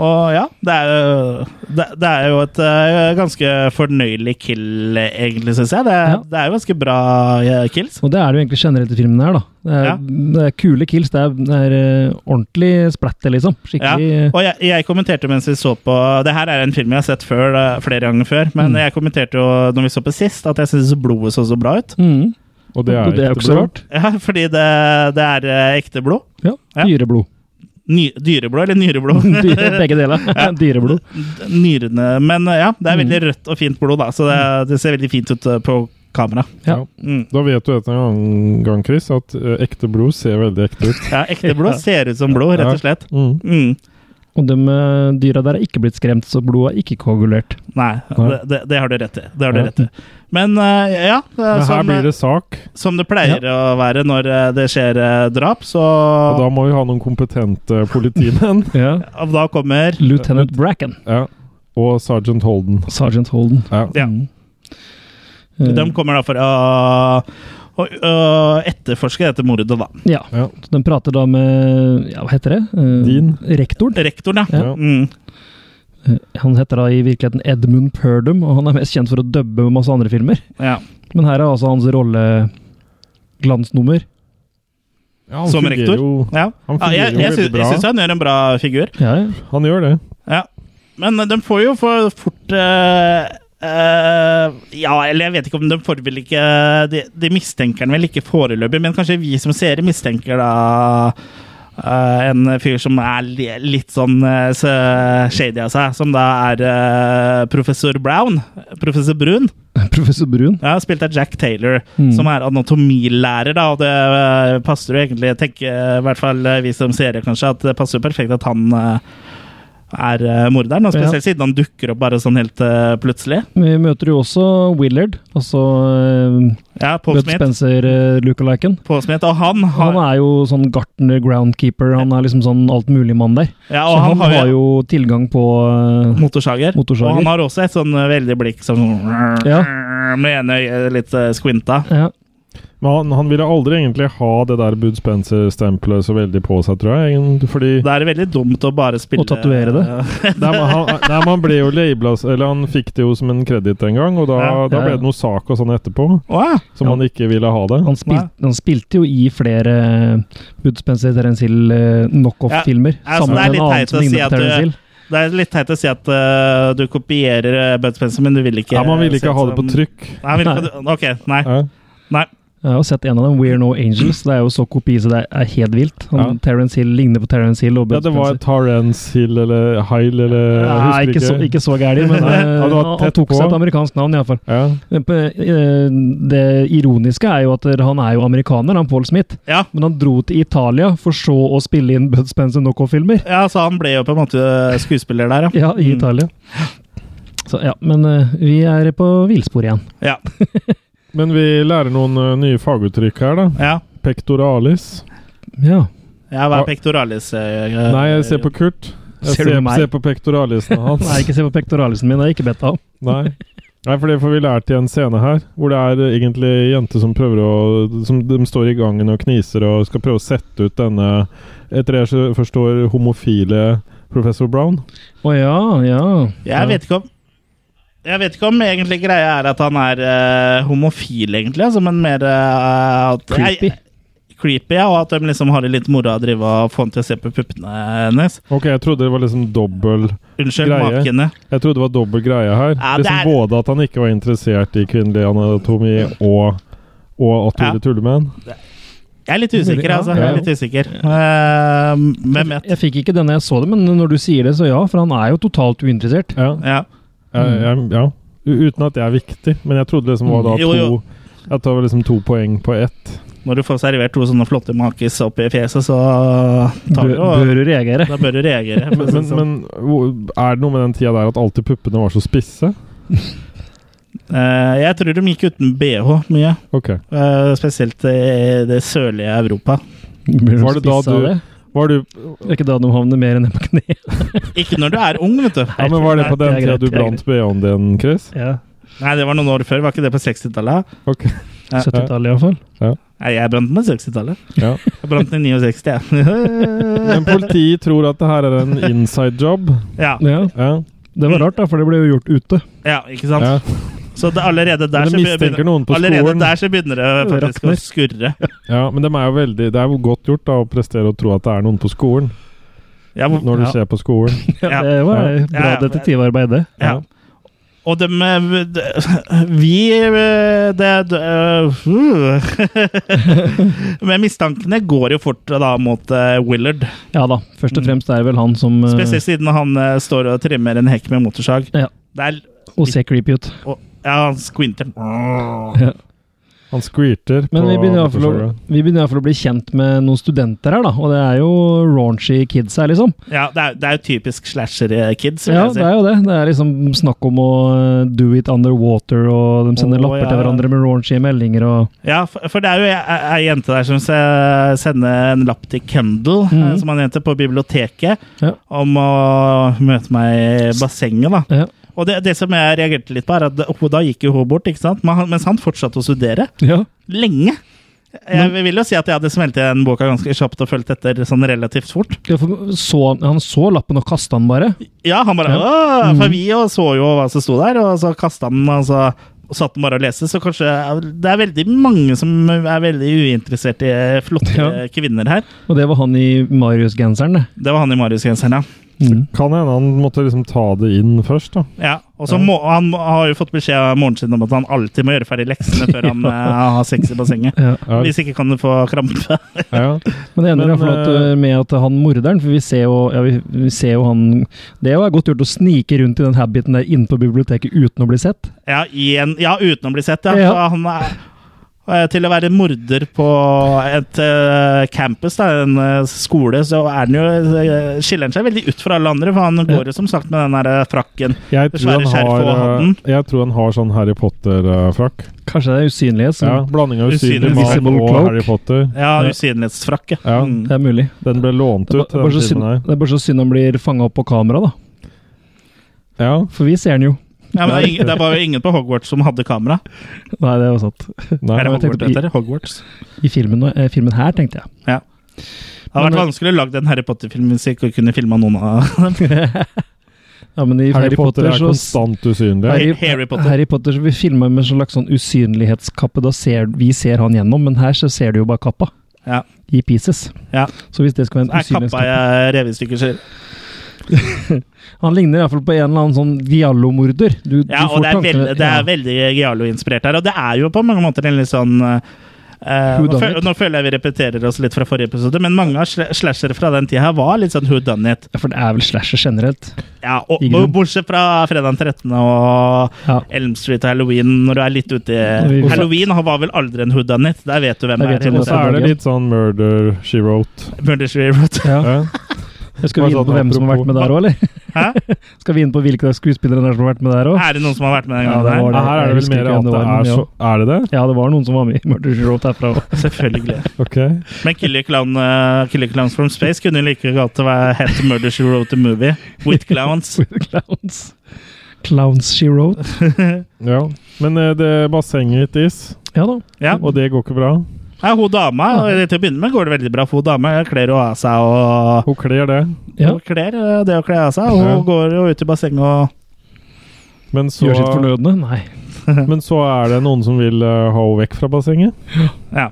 S1: Og ja, det er jo, det, det er jo et eh, ganske fornøyelig kill, egentlig, syns jeg. Det, er-
S3: Ja.
S1: det er jo ganske bra eh, kills.
S3: Og det er det jo egentlig generelt i filmen her, da. Det er,
S1: Ja.
S3: det er kule kills. Det er, det er eh, ordentlig splatter, liksom.
S1: Ja,
S3: Skikkelig eh,
S1: og jeg, jeg kommenterte mens vi så på Det her er en film jeg har sett før, eh, flere ganger før, men
S3: Mm.
S1: jeg kommenterte jo når vi så på sist, at jeg syns blodet så så bra ut.
S3: mm,
S2: Og det er,
S3: Og det er jo
S2: ikke
S3: ikke så
S2: bra.
S3: rart.
S1: Ja, fordi det, det er eh, ekte blod.
S3: Ja.
S1: Ja.
S3: Dyreblod.
S1: Ny, dyreblod, eller nyreblod.
S3: Dyre, begge deler. Dyreblod.
S1: D- Nyrene Men eh, ja,
S3: Mm.
S1: det er veldig rødt og fint blod, da, så det, det ser veldig fint ut eh, på kamera.
S3: Ja.
S2: Ja.
S1: Mm.
S2: Da vet du etter en gang- gang, Chris, at eh, ekte blod ser veldig ekte ut.
S1: Ja, ekte blod ser ut som blod, rett og slett.
S2: Mm.
S1: Mm.
S3: Og de eh, dyra der er ikke blitt skremt, så blodet er ikke koagulert.
S1: Nei,
S2: Nei.
S1: det, det, det har du rett i. Det har du
S2: Ja.
S1: rett i. Men eh, ja, eh,
S2: Men her
S1: som, eh,
S2: blir det sak,
S1: som det pleier å være når eh, det skjer eh, drap, så
S2: og da må vi ha noen kompetente politimenn.
S3: Ja.
S1: Og da kommer
S3: Lieutenant Bracken.
S2: ja. Og sergeant Holden.
S3: Sergeant Holden.
S2: Ja.
S1: Ja.
S3: Mm.
S2: Mm.
S3: Eh,
S1: De kommer da for å, å, å etterforske dette mordet, da.
S3: ja.
S2: Ja.
S3: Så de prater da med Ja, hva heter det? Eh,
S2: Dean.
S3: Rektoren.
S1: Rektoren, ja.
S2: Ja.
S1: Mm.
S3: Eh, Han heter da i virkeligheten Edmund Purdom, og han er mest kjent for å dubbe masse andre filmer.
S1: ja.
S3: Men her er altså hans rolle glansnummer.
S2: Ja, han
S1: Som
S2: fungerer
S1: rektor?
S2: Jo,
S1: ja.
S2: han
S1: ja
S2: fungerer
S1: jeg
S2: jo
S1: jeg, sy
S2: veldig bra.
S1: jeg syns han gjør en bra figur.
S3: Ja, ja.
S2: Han gjør det.
S1: Ja. Men eh, de får jo for fort eh, eh, ja, eller jeg vet ikke om de får vel ikke De, de mistenker den vel ikke foreløpig, men kanskje vi som seere mistenker da eh, en fyr som er li, litt sånn eh, så shady av seg, som da er eh, professor Brown. Professor Brun.
S3: Professor Brun.
S1: Ja, spilt av Jack Taylor,
S3: Mm.
S1: som er anatomilærer, da, og det eh, passer jo egentlig, tenker i hvert fall eh, vi som seere, kanskje, at det passer jo perfekt at han eh, er eh, morderen, og spesielt siden han dukker opp bare sånn helt eh, plutselig.
S3: Vi møter jo også Willard, altså eh,
S1: Ja, Paul
S3: Bud
S1: Smith.
S3: Spencer-lookaliken.
S1: Paul Smith, og han har,
S3: Han er jo sånn gartner, groundkeeper, han er liksom sånn altmuligmann der.
S1: ja,
S3: Så
S1: og
S3: han,
S1: han har jo
S3: jo tilgang på eh,
S1: motorsager,
S3: motorsager.
S1: og han har også et sånn eh, veldig blikk som sånn med ene øyet litt eh, squinta.
S3: ja.
S2: Men han, han ville aldri egentlig ha det der Bud Spencer-stempelet så veldig på seg, tror jeg. egentlig, Fordi
S1: Da er det veldig dumt å bare spille
S3: Og tatuere
S2: Nei, men han, nei, men han ble jo labela Eller han fikk det jo som en kreditt en gang, og da,
S1: Ja,
S2: da
S3: ja,
S2: ble
S3: ja.
S2: det noe sak og sånn etterpå,
S1: Åh,
S2: som han ikke ville ha det.
S3: Han, spil, han spilte jo i flere eh, Bud Spencer Terence Hill eh, knockoff-filmer.
S1: Ja, altså,
S3: sammen
S1: det er
S3: med
S1: litt
S3: en
S1: teit
S3: annen som
S1: å si
S3: ligner
S1: at eh,
S3: på Terence
S1: du-
S3: Hill.
S1: Det er litt teit å si at eh, du kopierer eh, Bud Spencer, men du vil ikke
S2: Ja, men han ville
S1: se
S2: ikke
S1: ut
S2: ha det på
S1: som-
S2: trykk.
S1: Nei, vil ikke, ok, nei.
S2: Ja.
S1: nei.
S3: Jeg har jo sett en av dem, We're No Angels. Det er jo så kopi så det er helt vilt. Han,
S2: Ja.
S3: Terence Hill ligner på Terence Hill og Bud
S2: ja, det var
S3: Spencer.
S2: Tarance Hill eller Heil eller Jeg
S3: Nei,
S2: Eh, husker
S3: ikke så, ikke så gæli, men eh,
S2: Nei, ja, det var
S3: han,
S2: tett
S3: han tok seg
S2: på.
S3: et amerikansk navn, iallfall.
S2: Ja.
S3: eh, Det ironiske er jo at han er jo amerikaner, han Paul Smith,
S1: Ja.
S3: men han dro til Italia for så å spille inn Bud Spencer knockoff-filmer.
S1: ja, så han ble jo på en måte eh, skuespiller der, ja.
S3: Ja, i
S1: Mm.
S3: Italia. Så ja, men eh, vi er på villspor igjen.
S1: Ja,
S2: Men vi lærer noen ø, nye faguttrykk her, da.
S1: ja.
S2: Pectoralis.
S3: Ja.
S1: ja hva er pectoralis? eh,
S2: Nei, jeg ser på Kurt. Jeg
S3: Ser du
S2: ser,
S3: meg?
S2: ser på pectoralisen hans.
S3: Nei, ikke se på pektoralisen min, det er ikke bedt om.
S2: Nei. Nei, for det får vi lært i en scene her, hvor det er eh, egentlig jenter som prøver å Som de står i gangen og kniser og skal prøve å sette ut denne Etter det jeg så forstår homofile professor Brown.
S3: Å ja, ja.
S1: Jeg vet ikke om jeg vet ikke om egentlig greia er at han er eh, homofil, egentlig, altså, men mer eh, at
S3: Creepy.
S1: Jeg, creepy, ja, og at de liksom har det litt moro av å drive og få han til å se på puppene hennes.
S2: Ok, jeg trodde det var liksom dobbel
S1: Unnskyld,
S2: Greie.
S1: makene.
S2: Jeg trodde det var dobbel greie her.
S1: Ja, det
S2: liksom
S1: er-
S2: Både at han ikke var interessert i kvinnelig anatomi, og, og at Tore
S1: Ja.
S2: Tullemann.
S1: Jeg er litt usikker, altså. Jeg er litt usikker. Eh, hvem vet?
S3: Jeg fikk ikke den da jeg så det, men når du sier det, så ja. For han er jo totalt uinteressert.
S2: Ja,
S1: Ja.
S2: jeg, jeg,
S3: Mm.
S2: ja. U- Uten at det er viktig, men jeg trodde liksom var da
S1: Jo, jo.
S2: to At det var liksom to poeng på ett.
S1: Når du får servert to sånne flotte makis opp i fjeset, så tar
S3: Bør,
S1: du og
S3: bør du reagere?
S1: Da bør du reagere. for å si
S2: Men,
S1: det sånn.
S2: men hvor- er det noe med den tida der at alltid puppene var så spisse?
S1: Eh, jeg tror de gikk uten BH mye.
S2: Ok.
S1: Eh, spesielt i det sørlige Europa.
S3: Bør
S2: Var det da
S3: spise av
S2: du-
S3: det?
S2: Var du
S3: Det er ikke da de havner mer enn ned på kne.
S1: Ikke når du er ung, vet du.
S2: Ja, men Var det på
S3: det er
S2: den tida
S3: greit,
S2: du
S3: det er
S2: brant BH-en din, Chris?
S3: Ja.
S1: Nei, det var noen år før. Var ikke det på 60-tallet?
S2: Ok,
S3: 70-tallet iallfall.
S1: Nei, jeg brant den på 60-tallet.
S2: ja.
S1: Jeg brant den i 69, jeg.
S2: Men politiet tror at det her er en inside job.
S1: ja.
S3: Ja.
S2: Ja,
S3: Det var rart, da, for det ble jo gjort ute.
S1: ja, ikke sant?
S2: ja.
S1: Så det, allerede der
S2: Men
S1: så
S2: de mistenker noen på
S1: Allerede
S2: skolen.
S1: der så begynner det faktisk å skurre.
S2: Ja, men de er jo veldig, det er jo godt gjort da å prestere å tro at det er noen på skolen.
S1: Ja, hvor-
S2: Når det
S3: Ja.
S2: skjer på skolen.
S1: Ja.
S3: Det var eh, bra
S1: Ja, ja.
S3: detektivarbeid, det.
S1: ja. Og de eh, de- Vi eh, det, det, eh, uh. Men mistankene går jo fort da mot eh, Willard.
S3: Ja da. Først og fremst er det vel han som eh,
S1: Spesielt siden han eh, står og trimmer en hekk med motorsag.
S3: Ja.
S1: Det er,
S3: Og ser creepy ut.
S1: og, ja, han squinter.
S3: Ja.
S2: Han squirter
S3: Men
S2: på
S3: vi begynner i hvert fall å-
S2: motorsaga.
S3: vi begynner i hvert fall å bli kjent med noen studenter her, da. Og det er jo raunchy kids her, liksom.
S1: Ja, det er, det er jo typisk slasher-kids. vil
S3: Ja,
S1: jeg si.
S3: det er jo det. Det er liksom snakk om å eh, do it underwater, og de sender
S1: Å,
S3: lapper
S1: ja,
S3: til
S1: ja.
S3: hverandre med raunchy meldinger og
S1: Ja, for, for det er jo ei ei jente der som se- sender en lapp til Kendal,
S3: Mhm.
S1: eh, som han heter, på biblioteket,
S3: Ja.
S1: om å møte meg i bassenget, da.
S3: Ja,
S1: Og det, det som jeg reagerte litt på, er at det- og da gikk jo hun bort, ikke sant? Men han- mens han fortsatte å studere.
S3: ja.
S1: Lenge. Jeg vil jo si at jeg hadde smelt igjen boka ganske kjapt og fulgt etter sånn relativt fort.
S3: for så, han så lappen og kasta den bare.
S1: Ja, han bare
S3: Ja.
S1: Åh, For vi jo så jo hva som sto der, og så kasta han den, og så satt den bare og leste. Så kanskje Det er veldig mange som er veldig uinteressert i flotte
S3: Ja.
S1: kvinner her.
S3: Og det var han i Marius-genseren, det.
S1: Det var han i Marius-genseren, ja.
S3: Mm.
S2: Kan hende han måtte liksom ta det inn først, da.
S1: ja. Og så må, han har jo fått beskjed av moren sin om at han alltid må gjøre ferdig leksene før han eh, har sex i bassenget.
S3: Ja.
S2: Ja,
S1: Hvis ikke kan du få krampe.
S2: ja.
S3: Men det ender
S2: Men,
S3: i hvert fall at,
S2: eh,
S3: eh, med at han morderen For vi ser jo, ja, vi, vi ser jo han Det er jo godt gjort å snike rundt i den habiten der inne på biblioteket uten å bli sett.
S1: Ja, i en, ja uten å bli sett, ja.
S3: Ja.
S1: Så han er eh, til å være morder på et eh, campus, da, en eh, skole, så er han jo, eh, skiller han seg veldig ut fra alle andre. For han går jo som sagt med den der eh, frakken.
S2: Jeg,
S1: Det
S2: tror han
S1: svære skjerfet og
S2: har,
S1: hatten.
S2: eh, jeg tror han har sånn Harry Potter-frakk.
S3: Kanskje det er usynlighet som
S2: Ja, Blanding av
S1: Usynlig
S2: usynlig mann
S3: visible
S2: og
S3: cloak.
S2: Harry Potter.
S1: Ja,
S3: Ja.
S1: usynlighetsfrakk. Ja.
S2: Ja.
S1: Mm.
S3: Det er mulig.
S2: Den ble lånt
S3: Det er,
S2: ut.
S3: bare, bare
S2: Den
S3: så synd,
S2: filmen her.
S3: det er bare så synd han blir fanga opp på kamera, da.
S2: Ja.
S3: For vi ser han jo.
S1: Ja, men det, er ingen, det var jo ingen på Hogwarts som hadde kamera.
S3: Nei, det er jo sant.
S2: Nei.
S1: Er det
S3: men jeg tenkte
S1: Hogwarts,
S3: på i-
S1: heter det? Hogwarts.
S3: I filmen, eh, filmen her, tenkte jeg.
S1: Det hadde
S3: Men-
S1: vært vanskelig å lage en Harry Potter-film hvis jeg ikke kunne filma noen av dem.
S3: Ja, men i
S2: Harry Potter er
S3: så
S2: konstant usynlig.
S1: Nei. Harry Potter.
S3: Harry Potter så vi filmer med en slags sånn usynlighetskappe. Da ser vi ser han gjennom, men her så ser du jo bare kappa.
S1: Ja.
S3: I pieces.
S1: Ja.
S3: Så hvis det skal være en
S1: Er kappa
S3: usynlighetskappe
S1: jeg revestykker selv.
S3: Han ligner i hvert fall på en eller annen sånn giallo-morder. Du,
S1: Ja,
S3: du
S1: og
S3: får
S1: det er,
S3: tankene-
S1: veld, det er
S3: ja.
S1: veldig Giallo-inspirert her. Og det er jo på mange måter en litt sånn eh,
S3: Who
S1: nå,
S3: done
S1: føl,
S3: it?
S1: nå føler jeg vi repeterer oss litt fra forrige episode, men mange av sla- slashere fra den tida her var litt sånn who done it.
S3: Ja, For det er vel slasher generelt.
S1: Ja, og,
S3: Ikke
S1: og
S3: sant?
S1: bortsett fra fredag den 13. og
S3: Ja.
S1: Elm Street og Halloween, når du er litt ute i
S3: Ikke sant.
S1: Halloween har- var vel aldri en who done it. Der vet du hvem
S3: Der
S1: det
S3: vet du
S1: er.
S3: hvem
S2: Og
S1: Og
S2: så
S1: så
S2: er det litt sånn Murder She Wrote.
S1: er Murder She Wrote.
S3: ja.
S2: Ja.
S3: Jeg skal vi
S2: Bare
S3: inn på
S2: sånn
S3: hvem som har vært med der òg, eller?
S1: Hæ?
S3: Skal vi inn på hvilke av skuespillerne der som har vært med der òg?
S1: Er det noen som har vært med den
S3: Ja,
S1: gangen?
S3: det
S1: her?
S3: var
S2: Ja, her er
S3: Jeg
S2: det vel
S3: husker
S2: mer
S3: ikke hvem
S2: at det
S3: det var,
S2: er
S3: men
S2: så Er det det?
S3: Ja, det var noen som var med i Murder She Wrote herfra òg.
S1: Selvfølgelig.
S2: Ok.
S1: Men Killer, Clown, eh, Killer Clowns from Space kunne jo like godt være hett Murder She Wrote the Movie. With Clowns.
S3: Clowns. Clowns She Wrote.
S2: Ja. Men eh, det bassenget ditt is,
S3: Ja da.
S1: Ja.
S2: og det går ikke bra.
S1: Ja, hun dama, og til å begynne med går det veldig bra for hun dama. Hun kler jo av seg og
S2: Hun kler det.
S3: Ja.
S1: Hun kler eh, det å kle av seg. Hun
S2: Ja.
S1: går jo ut i bassenget og
S2: Men så,
S3: Gjør sitt fornødne? Nei.
S2: men så er det noen som vil eh, ha henne vekk fra bassenget.
S1: ja.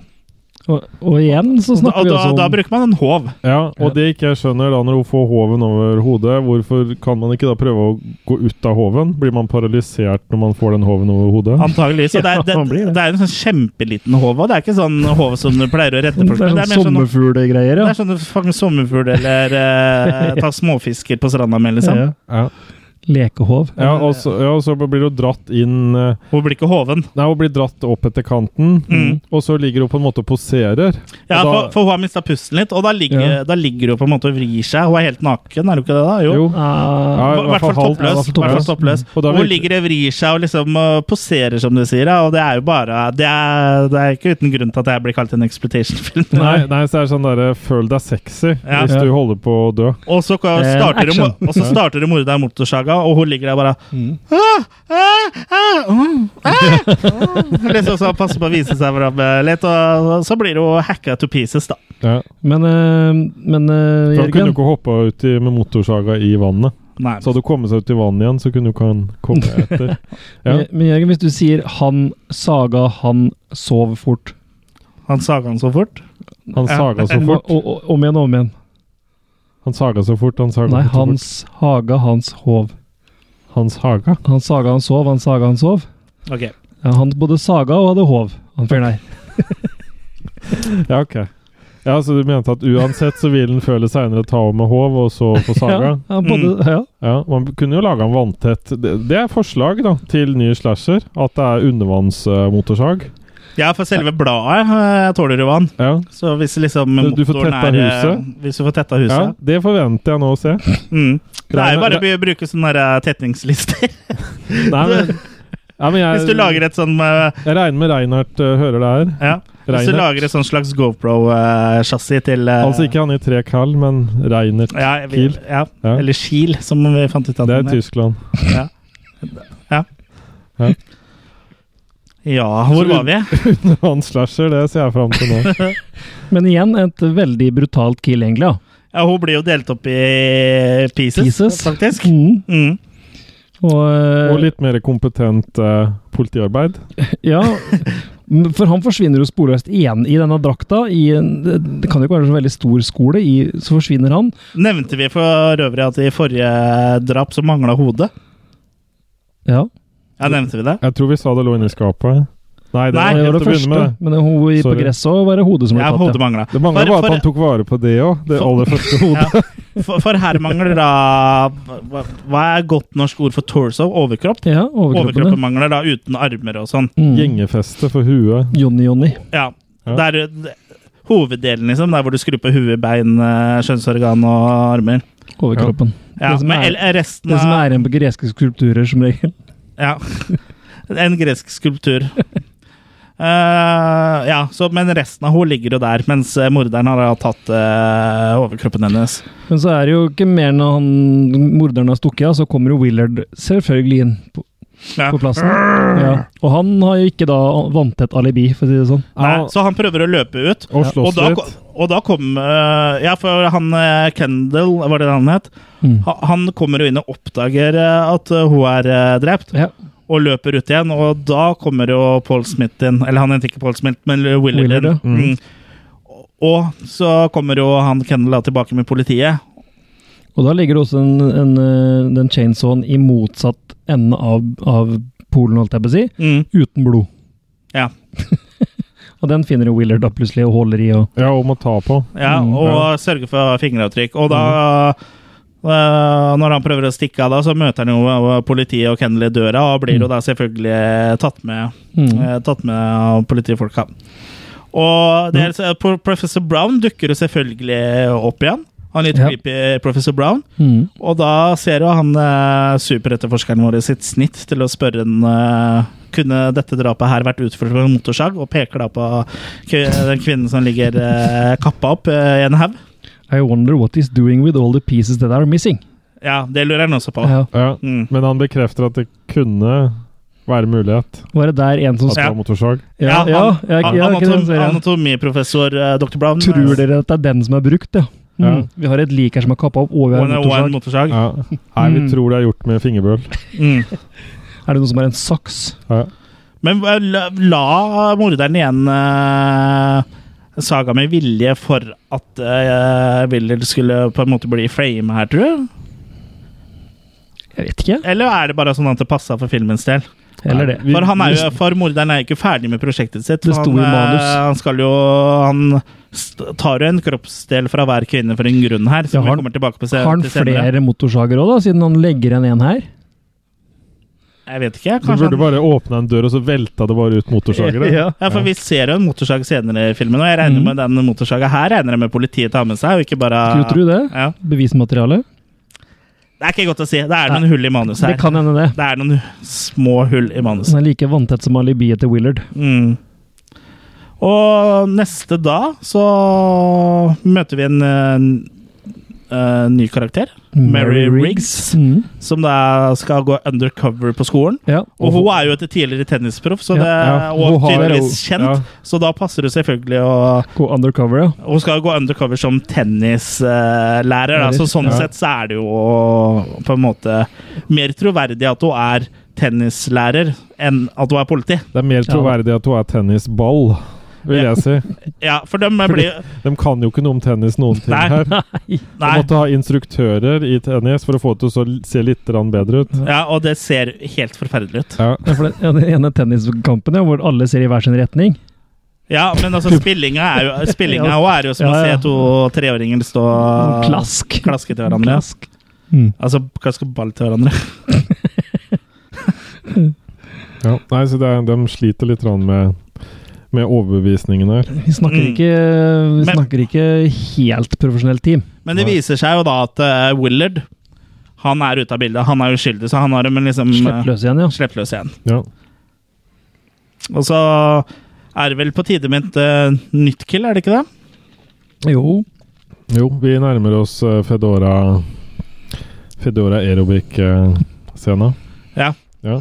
S3: Og, og igjen så snakker
S1: Og
S3: vi
S1: da,
S3: også om
S1: da bruker man en håv.
S2: Ja, og
S3: Ja.
S2: det ikke jeg skjønner, da når hun får hoven over hodet, hvorfor kan man ikke da prøve å gå ut av hoven? Blir man paralysert når man får den hoven over hodet?
S1: Antageligvis. Og det, er, det,
S3: Ja, man blir det.
S1: det er en sånn kjempeliten håv. Og det er ikke sånn håv som du pleier å redde
S3: det
S1: folk
S3: er
S1: med. Det er
S3: sånn
S1: mer sånn
S3: sommerfuglegreier,
S1: det
S3: ja.
S1: er sånn fucking sommerfugl eller eh, ta småfisker på stranda med, liksom.
S3: ja.
S2: Ja,
S3: Lekehov.
S2: ja, og, så, ja og så blir hun dratt inn eh,
S1: Hun blir ikke hoven.
S2: Nei, hun blir dratt opp etter kanten,
S1: Mm.
S2: og så ligger hun på en måte og poserer.
S1: Ja,
S2: Og da-
S1: for, for hun har mista pusten litt, og da ligger,
S3: Ja.
S1: da ligger hun på en måte og vrir seg. Hun er helt naken, er hun ikke det? da? Jo.
S2: Jo.
S3: Ah,
S2: Ja,
S1: I hvert fall
S2: halvt.
S1: toppløs.
S3: Ja, i hvert fall
S1: Hvert fall toppløs.
S2: Og da
S1: Hun
S2: virker-
S1: ligger og vrir seg og liksom uh, poserer, som du sier. ja, Og det er jo bare Det er, det er ikke uten grunn til at jeg blir kalt en exploitation-film.
S2: Nei, nei, så er det sånn derre Føl deg sexy
S1: Ja.
S2: hvis du holder på å dø.
S1: Og så ka-
S3: Eh,
S1: starter,
S3: action.
S1: hun- og så starter hun mordet i motorsaga, og hun ligger der bare
S3: Mm.
S1: «Ah, ah, ah, mm, ah, ah». Liksom så passer på å vise seg fram eh, litt, og så blir hun hacka to pieces, da.
S2: Ja.
S3: Men, eh, men eh,
S2: For han kunne jo
S3: Jørgen
S2: ikke hoppa ut i, med motorsaga i vannet.
S1: Nei.
S2: Så hadde hun kommet seg ut i vannet igjen, så kunne hun kan komme etter. Ja.
S3: men- Men Jørgen, hvis du sier 'han saga, han sov fort'
S1: Han saga han så fort.
S2: Han saga så
S3: og,
S2: fort.
S3: og, og, Om igjen og om igjen.
S2: Han saga så fort, han saga
S3: Nei,
S2: så fort.
S3: hans haga, hans hov.
S2: Hans Haga.
S3: Han saga, han sov, han saga, han sov.
S1: Ok.
S3: Ja, han både saga og hadde hov, han fyren der.
S2: Ja, ok. Ja, Så du mente at uansett så vil den før eller seinere ta over med håv, og så få
S3: Ja,
S2: saga? Mm.
S3: han både, ja.
S2: Ja, Man kunne jo laga en vanntett Det det er forslag da, til ny slasher. At det er undervannsmotorsag.
S1: Ja, for selve bladet eh, tåler jo vann.
S2: Ja.
S1: Så hvis liksom
S2: Du- du får
S1: motoren
S2: tetta
S1: er, eh,
S2: huset.
S1: Hvis du får tetta
S2: ja,
S1: huset.
S2: det forventer jeg nå å se.
S1: Mm. Det er jo bare å
S2: Regner-
S1: be- bruke sånne der, eh, tetningslister.
S2: Nei, men, nei, men jeg,
S1: Hvis du lager et sånn eh,
S2: jeg regner med Reinhardt eh, hører det her.
S1: Ja. Hvis du
S2: Reinert.
S1: lager et sånn slags GoPro-chassis til eh,
S2: Altså ikke han i tre kall, men Reinert.
S1: ja, jeg vil-
S2: Kiel.
S1: Ja.
S2: Ja.
S1: Eller Kiel, som vi fant ut av.
S2: Det er
S1: den her.
S2: Tyskland.
S1: Ja, hvor var vi?
S2: Undervannsslasher, det ser jeg fram til nå.
S3: Men igjen et veldig brutalt kill, egentlig. Ja.
S1: Ja, hun blir jo delt opp i pieces,
S3: Pieces.
S1: faktisk.
S3: Mm.
S1: Mm.
S3: Og, eh,
S2: Og litt mer kompetent eh, politiarbeid.
S3: Ja, men for han forsvinner jo sporløst igjen i denne drakta. I en, det det kan jo ikke være så veldig stor skole, i, så forsvinner han.
S1: Nevnte vi for øvrig at i forrige drap så mangla hodet?
S3: Ja,
S1: Ja, nevnte vi det?
S2: Jeg tror vi sa det lå inni skapet. Nei, det
S1: Nei,
S2: var
S3: det var
S2: helt
S3: det
S2: å begynne
S3: første,
S2: med. det.
S3: men hun i på
S2: Sorry.
S3: gresset òg var det hodet som ble
S1: Ja,
S3: tatt.
S1: hodet mangla.
S2: Det mangler
S1: For-
S2: bare
S1: for-
S2: at han tok vare på det òg. Det
S1: For-
S2: aller første hodet.
S1: For, for her mangler da hva- Hva er godt norsk ord for torso? Overkropp?
S3: Ja,
S1: Overkroppen
S3: overkroppen.
S1: mangler da, uten armer og sånn.
S3: Mm.
S2: Gjengefeste for huet.
S3: Jonny-Jonny.
S1: Ja.
S2: Ja.
S1: Det er det- hoveddelen, liksom. Der hvor du skrur på hue, bein, eh, skjønnsorgan og armer.
S3: Overkroppen.
S1: Ja,
S3: Det som
S1: men
S3: er-
S1: el- resten
S3: Det som
S1: av
S3: er igjen på greske skulpturer, som regel.
S1: ja. En gresk skulptur. Eh, ja, så, men resten av henne ligger jo der, mens eh, morderen har da tatt eh, overkroppen hennes.
S3: Men så er det jo ikke mer når han, morderen har stukket av, så kommer jo Willard selvfølgelig inn på,
S1: Ja.
S3: på plassen. Ja. Og han har jo ikke da vanntett alibi, for å si det sånn.
S1: Nei,
S2: Ja,
S1: så han prøver å løpe ut,
S2: og
S1: og
S2: slåss
S1: da,
S2: litt.
S1: ko- og da kom eh, Ja, for han eh, Kendall, var det det han het?
S3: Mm.
S1: Ha- Han kommer jo inn og oppdager eh, at eh, hun er eh, drept,
S3: Ja.
S1: og løper ut igjen. Og da kommer jo Paul Smith inn. Eller han heter ikke Paul Smith, men Willard.
S3: Willard, ja.
S1: inn. Mm. Og så kommer jo han Kendall da tilbake med politiet.
S3: Og da ligger det også en, en, eh, den chainsawen i motsatt ende av, av polen, holdt jeg på å si,
S1: Mm.
S3: uten blod.
S1: Ja.
S3: og den finner jo Willard da plutselig og holder i og
S2: Ja, om å ta på.
S1: Ja,
S3: Mm,
S1: og sørger for fingeravtrykk. Og da eh, når han prøver å stikke av, da, så møter han jo eh, politiet og Kennel i døra, og blir jo da selvfølgelig tatt med,
S3: mm.
S1: eh, tatt med av politifolka. Og det er, så- pro- professor Brown dukker jo selvfølgelig opp igjen. Han litt
S3: Ja.
S1: creepy professor Brown.
S3: Mm.
S1: Og da ser jo han eh, superetterforskeren vår sitt snitt til å spørre en eh, kunne dette drapet her vært utført med motorsag, og peker da på k den kvinnen som ligger eh, kappa opp eh, i en haug.
S3: I wonder what he's doing with all the pieces that are missing.
S1: Ja, det lurer han også på.
S3: Ja.
S2: Ja.
S1: Mm.
S2: Men han bekrefter at det kunne være mulighet
S3: Var det der en som
S2: at det var motorsag.
S3: Ja, ja,
S1: han-
S3: ja,
S1: an-
S3: ja, ikke
S1: anatom,
S3: sant, sier jeg.
S1: Anatomiprofessor eh, dr. Brown.
S3: Tror dere at det er den som er brukt, ja? Mm.
S2: Ja.
S3: Vi har et lik her som er kappa opp, og vi har en
S1: One motorsag.
S3: motorsag.
S2: Ja. Nei, vi
S3: Mm.
S2: tror det er gjort med fingerbøl.
S1: Mm.
S3: Er det noen som har en saks?
S2: Ja.
S1: Men eh, la, la morderen igjen eh, saga med vilje for at uh, Willard skulle på en måte bli frame her, tror du?
S3: Jeg vet ikke.
S1: Eller er det bare sånn at det passa for filmens del?
S3: Eller det.
S2: Vi-
S1: For, han er jo, for morderen er jo ikke ferdig med prosjektet sitt.
S3: Det
S1: for
S3: sto i
S1: han, eh,
S3: manus.
S1: han skal jo Han st- tar jo en kroppsdel fra hver kvinne for en grunn her, som
S3: Ja, har
S1: vi kommer tilbake på se-
S3: Har han
S1: til senere.
S3: flere motorsager òg, da, siden han legger igjen en her?
S1: Jeg vet ikke.
S2: Du
S1: Kanskje
S2: burde
S1: han
S2: bare åpne en dør, og så velta det bare ut motorsagere.
S3: Ja.
S1: ja, for Vi ser jo en motorsag senere i filmen, og jeg regner
S3: Mm.
S1: med den motorsaga her regner jeg med politiet tar med seg. og ikke bare...
S3: Skulle tro det.
S1: Ja.
S3: Bevismateriale.
S1: Det er ikke godt å si. Det er
S3: Nei.
S1: noen hull i manuset
S3: Det
S1: her.
S3: kan hende, det.
S1: Det er noen små hull i manuset.
S3: Den er like vanntett som alibiet til Willard.
S1: Mm. Og neste da så møter vi en, eh, eh, ny karakter, Mary Riggs.
S3: Mm.
S1: som da skal gå undercover på skolen.
S3: Ja.
S1: Og hun er jo et tidligere tennisproff, så
S3: Ja,
S1: det,
S2: ja.
S1: og
S2: Hun har
S1: tydeligvis
S2: jo-
S1: kjent,
S2: ja.
S1: så da passer det selvfølgelig å
S3: Gå undercover, ja.
S1: Hun skal jo gå undercover som tennislærer, da, så sånn
S2: Ja.
S1: sett så er det jo på en måte mer troverdig at hun er tennislærer enn at hun er politi.
S2: Det er mer troverdig at hun er tennisball, vil
S1: Ja.
S2: jeg si.
S1: Ja, for de blir
S2: De kan jo ikke noe om tennis noen ting
S1: Nei.
S2: her. De
S1: Nei.
S2: måtte ha instruktører i tennis for å få det til å så- se litt grann bedre ut.
S1: Ja, og det ser helt forferdelig ut.
S2: Ja.
S3: Ja, for det- ja, Den ene tenniskampen ja, hvor alle ser i hver sin retning.
S1: Ja, men altså, spillinga er jo, spillinga
S3: Ja.
S1: også er jo som
S3: Ja, ja.
S1: å se to treåringer stå
S3: Ah. Klask.
S1: klaske til hverandre.
S3: Klask. Mm.
S1: Altså klaske ball til hverandre.
S2: Ja. Nei, så det er, de sliter litt grann med, med overbevisningen her.
S3: Vi snakker,
S1: Mm.
S3: ikke, vi
S1: Men-
S3: snakker ikke helt profesjonelt team.
S1: Men det viser seg jo da at eh, Willard han er ute av bildet. Han er uskyldig, så han har dem liksom
S3: Slipp
S1: eh,
S3: løs igjen, ja.
S1: Slipp løs igjen.
S2: Ja.
S1: Og så er det vel på tide med et eh, nytt kill, er det ikke det?
S3: Jo.
S2: Jo, vi nærmer oss eh, Fedora Fedora aerobic-scena.
S1: Ja.
S2: ja.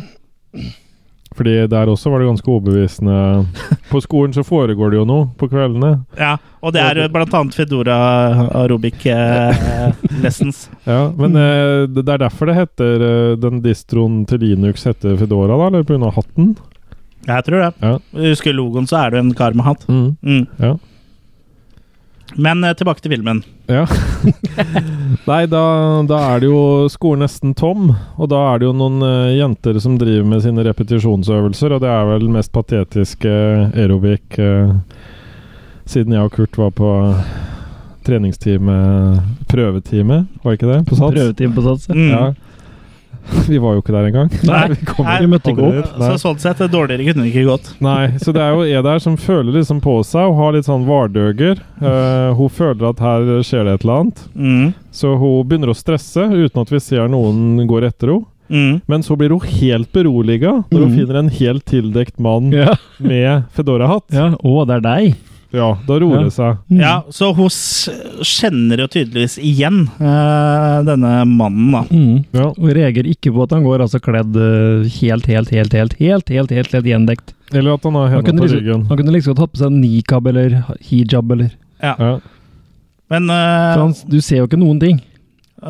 S2: Fordi der også var det ganske overbevisende. På skolen så foregår det jo noe på kveldene.
S1: Ja, Og det er eh, blant annet Fedora aerobic eh, lessons.
S2: Ja, Men eh, det det er derfor det heter eh, den distroen til Linux heter Fedora, da? Eller pga. hatten?
S1: Jeg tror det.
S2: Ja.
S1: Husker du logoen, så er du en kar med hatt. Mm.
S2: Ja.
S1: Men eh, tilbake til filmen.
S2: Ja. Nei, da, da er det jo skolen nesten tom, og da er det jo noen eh, jenter som driver med sine repetisjonsøvelser, og det er vel mest patetiske aerobic eh, siden jeg og Kurt var på eh, treningstime Prøvetime, var ikke det? På Sats?
S3: Prøvetime på sats.
S1: Mm.
S2: Ja. Vi var jo ikke der engang.
S1: Nei,
S3: vi kommer
S1: nei,
S3: vi møtte ikke
S2: aldri.
S3: opp.
S1: Så sånn sett, eh, dårligere kunne det ikke gått.
S2: Nei, så det er jo jeg der som føler liksom på seg og har litt sånn vardøger. Eh, hun føler at her skjer det et eller annet.
S1: Mm.
S2: Så hun begynner å stresse uten at vi ser noen går etter henne.
S1: Mm.
S2: Men så blir hun helt beroliga når hun
S3: Mhm.
S2: finner en helt tildekt mann
S3: Ja.
S2: med Fedora-hatt.
S3: ja. Å, det er deg.
S2: Ja, da roer
S3: Ja.
S2: det seg.
S3: Mm.
S1: Ja, så hun s- kjenner jo tydeligvis igjen eh, denne mannen, da.
S3: Mm.
S2: Ja.
S3: Og reagerer ikke på at han går altså kledd eh, helt, helt, helt, helt, helt, helt, helt, helt gjendekt.
S2: Eller at han har
S3: Han
S2: hendene
S3: kunne,
S2: på
S3: liksom,
S2: ryggen.
S3: han kunne liksom godt hatt på seg en nikab eller hijab eller
S2: Ja.
S1: Men
S3: For han,
S1: eh,
S3: Du ser jo ikke noen ting.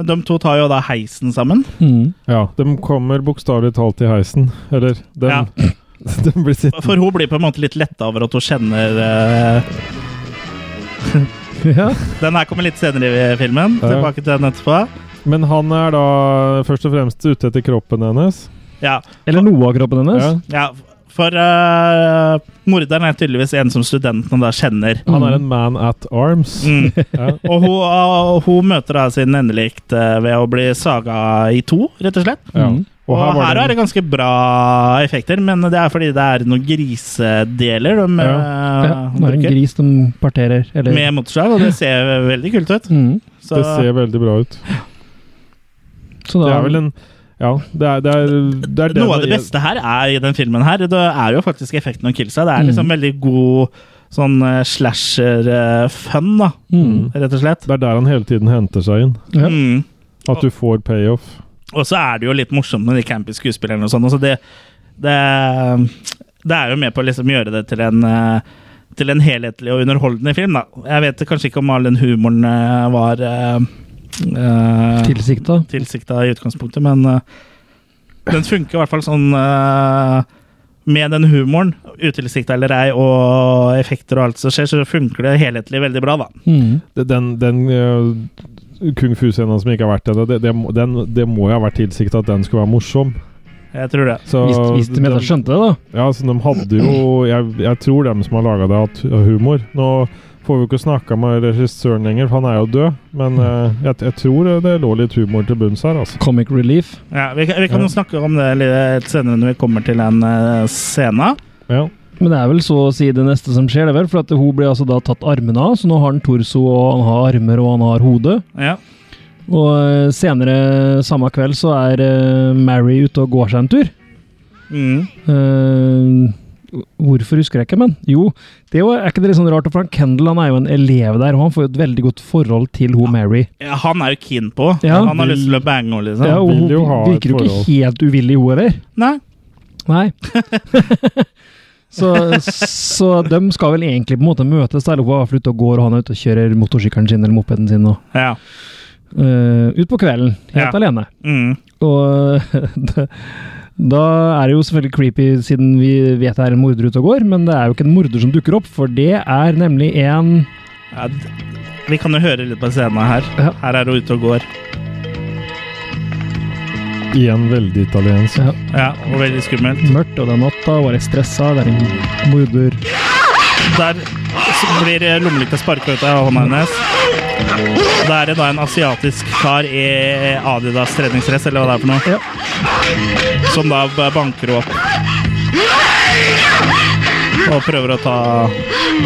S1: de to tar jo da heisen sammen.
S3: Mm.
S2: ja, de kommer bokstavelig talt i heisen. Eller de,
S1: Ja.
S2: de blir sittende.
S1: For hun blir på en måte litt letta over at hun kjenner eh,
S3: Ja.
S1: Den her kommer litt senere i filmen.
S2: Ja.
S1: Tilbake til den etterpå.
S2: Men han er da først og fremst ute etter kroppen hennes.
S1: Ja,
S3: Eller noe av kroppen hennes.
S2: Ja.
S1: ja for eh, morderen er tydeligvis en som studentene da kjenner.
S2: Han
S3: Mm.
S2: er en man at arms.
S1: Mm.
S2: Ja.
S1: Og hun, og hun møter da sin endelikt eh, ved å bli saga i to, rett og slett.
S2: Ja.
S3: Mm.
S1: Og,
S2: var
S1: her
S2: det-
S1: er det ganske bra effekter, men det er fordi det er noen grisedeler de
S2: Ja.
S1: eh,
S3: Ja, det er en
S1: bruker,
S3: gris de parterer. Eller
S1: med motorsag, og det ser veldig kult ut.
S3: mm.
S1: Så,
S2: Det ser veldig bra ut.
S3: Så
S2: Det
S3: da
S2: er vel en Ja, det er, det er, det er det
S1: noe av det
S2: jeg-
S1: beste her er i den filmen her, det er jo faktisk effekten av killsa. Det er liksom
S3: Mm.
S1: veldig god sånn slasher-fun, da,
S3: mm.
S1: rett og slett.
S2: Det er der han hele tiden henter seg inn.
S3: ja.
S1: Mm.
S2: At du får payoff.
S1: Og så er det jo litt morsomt med de campy skuespillerne og sånn. Altså det, det, det er jo med på å liksom gjøre det til en eh, til en helhetlig og underholdende film, da. Jeg vet kanskje ikke om all den humoren eh, var uh,
S3: Tilsikta.
S1: tilsikta i utgangspunktet, men eh, den funker i hvert fall sånn eh, med den humoren, utilsikta eller ei, og effekter og alt som skjer, så funker det helhetlig veldig bra, da.
S3: Mm.
S2: Det- Den, den eh, kung fu-scenen som ikke har vært ennå, det, det, må- den, det må jo ha vært tilsikta at den skulle være morsom.
S1: Jeg tror det.
S2: Så
S3: Hvis, hvis de
S2: den-
S3: mener skjønte det, da.
S2: Ja, så de hadde jo Jeg, jeg tror dem som har laga det, har hatt humor. Nå får vi jo ikke snakka med regissøren lenger, for han er jo død. Men eh, jeg, jeg tror det lå litt humor til bunns her, altså.
S3: Comic relief.
S1: Ja, vi, kan- vi kan
S2: Ja.
S1: jo snakke om det litt senere når vi kommer til den uh, scenen.
S2: Ja.
S3: Men det er vel så å si det neste som skjer, det vel. For at hun blir altså da tatt armene av, så nå har han torso, og han har armer, og han har hode.
S1: Ja.
S3: Og eh, senere samme kveld så er eh, Mary ute og går seg en tur.
S1: Mm.
S3: Eh, hvorfor husker jeg ikke, men jo, det er jo er ikke det litt sånn rart, for han Kendall han er jo en elev der, og han får jo et veldig godt forhold til hun Mary.
S1: Ja, han er jo keen på.
S3: Ja.
S1: Han har lyst til å bange henne, liksom.
S3: Ja, og hun
S2: vil jo ha et
S3: virker jo ikke
S2: forhold.
S3: helt uvillig, hun heller.
S1: Nei.
S3: Nei. så, så de skal vel egentlig på en måte møtes, der hun er ute og går, og han er ute og kjører motorsykkelen sin eller mopeden sin og,
S1: Ja.
S3: eh, ut på kvelden, helt
S1: Ja.
S3: alene.
S1: Mm.
S3: Og da- da er det jo selvfølgelig creepy, siden vi vet det er en morder ute og går, men det er jo ikke en morder som dukker opp, for det er nemlig en
S1: Ja, d- vi kan jo høre litt på scenen her.
S3: Ja.
S1: Her er hun ute og går.
S2: Igjen veldig italiensk.
S3: ja,
S1: Ja, og veldig skummelt.
S3: mørkt, og det er natta, og er litt stressa, det er en morder
S1: Der så blir lommelykta sparka ut av hånda hennes. Det er det da en asiatisk kar i Adidas treningsdress, eller hva det er for noe,
S3: Ja.
S1: som da b- banker henne opp. Og prøver å ta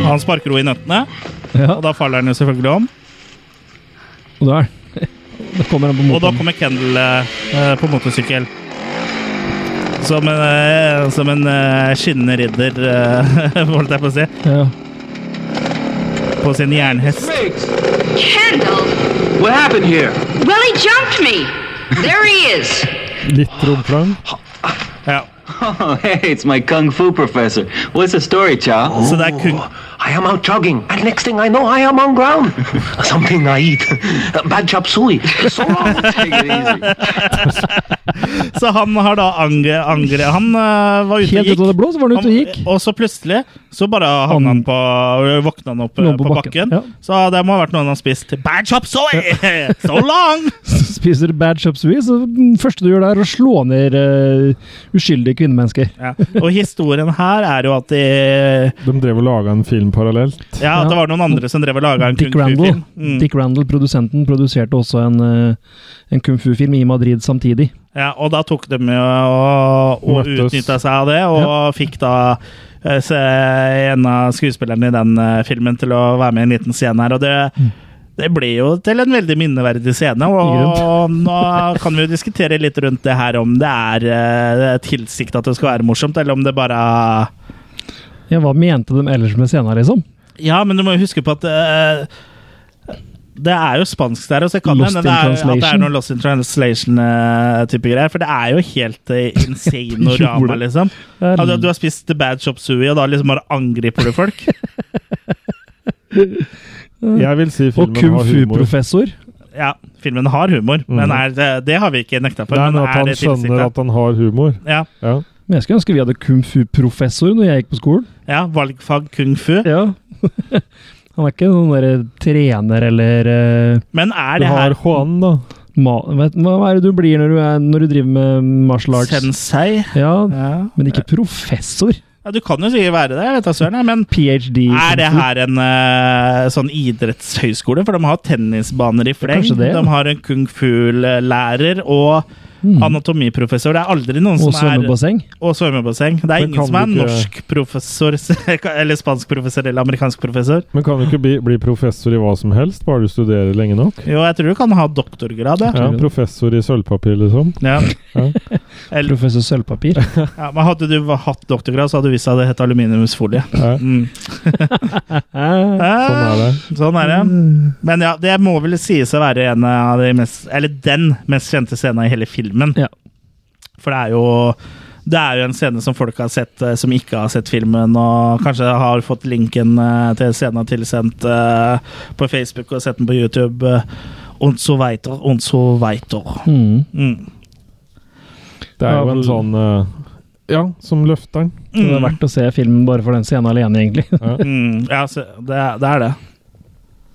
S1: Han sparker henne i nøttene,
S3: ja,
S1: og da faller han jo selvfølgelig om.
S3: og da er Da kommer han på
S1: Og da
S3: motoren.
S1: kommer Kendal eh, på motorsykkel. Som en, eh, som en eh, skinnende ridder, eh, holdt jeg på å si,
S3: Ja.
S1: på sin jernhest.
S5: Riggs,
S6: Kendall!
S5: what happened here?
S6: Well, he jumped me! There he is!
S2: Litt romflang.
S1: Ja.
S7: Oh, hey, it's my kung fu professor. What's the story, child?
S1: Så det er kun
S5: I am out jogging, and next thing I know, I am on ground. Something I eat. Bad chop suey. So long.
S7: Take it easy.
S1: Så han har da angre, angre Han øh, var ute og
S3: Helt
S1: gikk.
S3: ut av det blå, så var han ute og gikk.
S1: Han- og så plutselig så bare hang han på våkna han opp øh,
S3: Lå
S1: på,
S3: på
S1: bakken.
S3: bakken, ja.
S1: Så det må ha vært noen han har spist. Bad chop soy! So long!
S3: spiser du bad chop suey, så det første du gjør der, er å slå ned eh, uskyldige kvinnemennesker.
S1: Ja. Og historien her er jo at de
S2: De drev og laga en film parallelt.
S1: Ja, at det var noen andre som drev og laga en
S3: Dick
S1: kung fu-film.
S3: Randall,
S1: Mm.
S3: Dick Randall, produsenten, produserte også en, eh, en kung fu-film i Madrid samtidig.
S1: Ja, og da tok de jo og, og
S2: Møttes.
S1: utnytta seg av det, og fikk da eh, se en av skuespillerne i den eh, filmen til å være med i en liten scene her. Og det, det ble jo til en veldig minneverdig scene, og nå kan vi jo diskutere litt rundt det her om det er eh, tilsiktet at det skal være morsomt, eller om det bare
S3: Ja, Hva mente de ellers med scenen, liksom?
S1: Ja, men du må jo huske på at eh, det er jo spansk der, og så kan det
S3: Lost
S1: hende det
S3: in
S1: er- at det er
S3: translation.
S1: noe Lost in Translation-type greier. For det er jo helt eh, insane og rama,
S3: jorda.
S1: liksom.
S3: Det er-
S1: Ja, du, du har spist The Bad Chop Suey, og da liksom bare angriper du folk?
S2: Jeg vil si
S3: og
S2: filmen
S3: kung
S2: har humor.
S3: fu-professor.
S1: Ja, filmen har humor, men er det, det har vi ikke nekta for.
S2: Mhm. Nei, men
S1: men
S2: at
S1: er
S2: han
S1: det
S2: skjønner
S1: tilsiktet?
S2: at han har humor.
S1: Ja,
S2: Ja.
S3: Men jeg skulle ønske vi hadde kung fu-professor når jeg gikk på skolen.
S1: ja, valgfag kung fu.
S3: Ja. Han er ikke noen der eh, trener eller eh,
S1: Men er
S2: Du
S1: det
S2: har
S1: her
S2: Juan, da.
S3: ma vet, Hva hva er det du blir når du, er, når du driver med martial arts?
S1: sensei?
S3: Ja,
S1: Ja.
S3: men ikke professor.
S1: ja, du kan jo sikkert være det, jeg vet da søren, jeg, men
S3: PhD.
S1: er det
S3: kung fu.
S1: her en eh, sånn idrettshøyskole? For de har tennisbaner i fleng.
S3: Kanskje det, ja.
S1: De har en kung fu-lærer og
S2: Mm.
S1: anatomiprofessor. Det er aldri noen
S3: Mm. Og
S1: som er
S3: svømmebasseng.
S1: Og svømmebasseng. Det er
S2: Men kan
S1: ingen som er
S2: du ikke-
S1: norsk professor, eller spansk professor eller amerikansk professor.
S2: Men kan du ikke bli, bli professor i hva som helst, bare du studerer lenge nok?
S1: Jo, jeg tror du kan ha doktorgrad, ja.
S2: Ja, Professor i sølvpapir, liksom.
S1: ja.
S2: Ja.
S1: Eller,
S3: Professor Sølvpapir.
S1: ja, men hadde du hatt doktorgrad, så hadde du visst at det het aluminiumsfolie.
S2: Ja,
S1: Mm.
S3: Eh,
S2: sånn er det.
S1: Sånn er det.
S3: Mm.
S1: Men ja, det må vel sies å være en av de mest Eller den mest kjente scenen i hele filmen.
S3: Ja.
S1: For det er jo det er jo en scene som folk har sett, eh, som ikke har sett filmen, og kanskje har fått linken eh, til scenen tilsendt eh, på Facebook og sett den på YouTube. eh, Und so weiter, und so weiter.
S3: Mm.
S1: Mm.
S2: Det er jo en sånn eh, Ja, som løfteren.
S3: Så det er verdt å se filmen bare for den scenen alene, egentlig.
S1: Mm, ja, så det, er- det er det.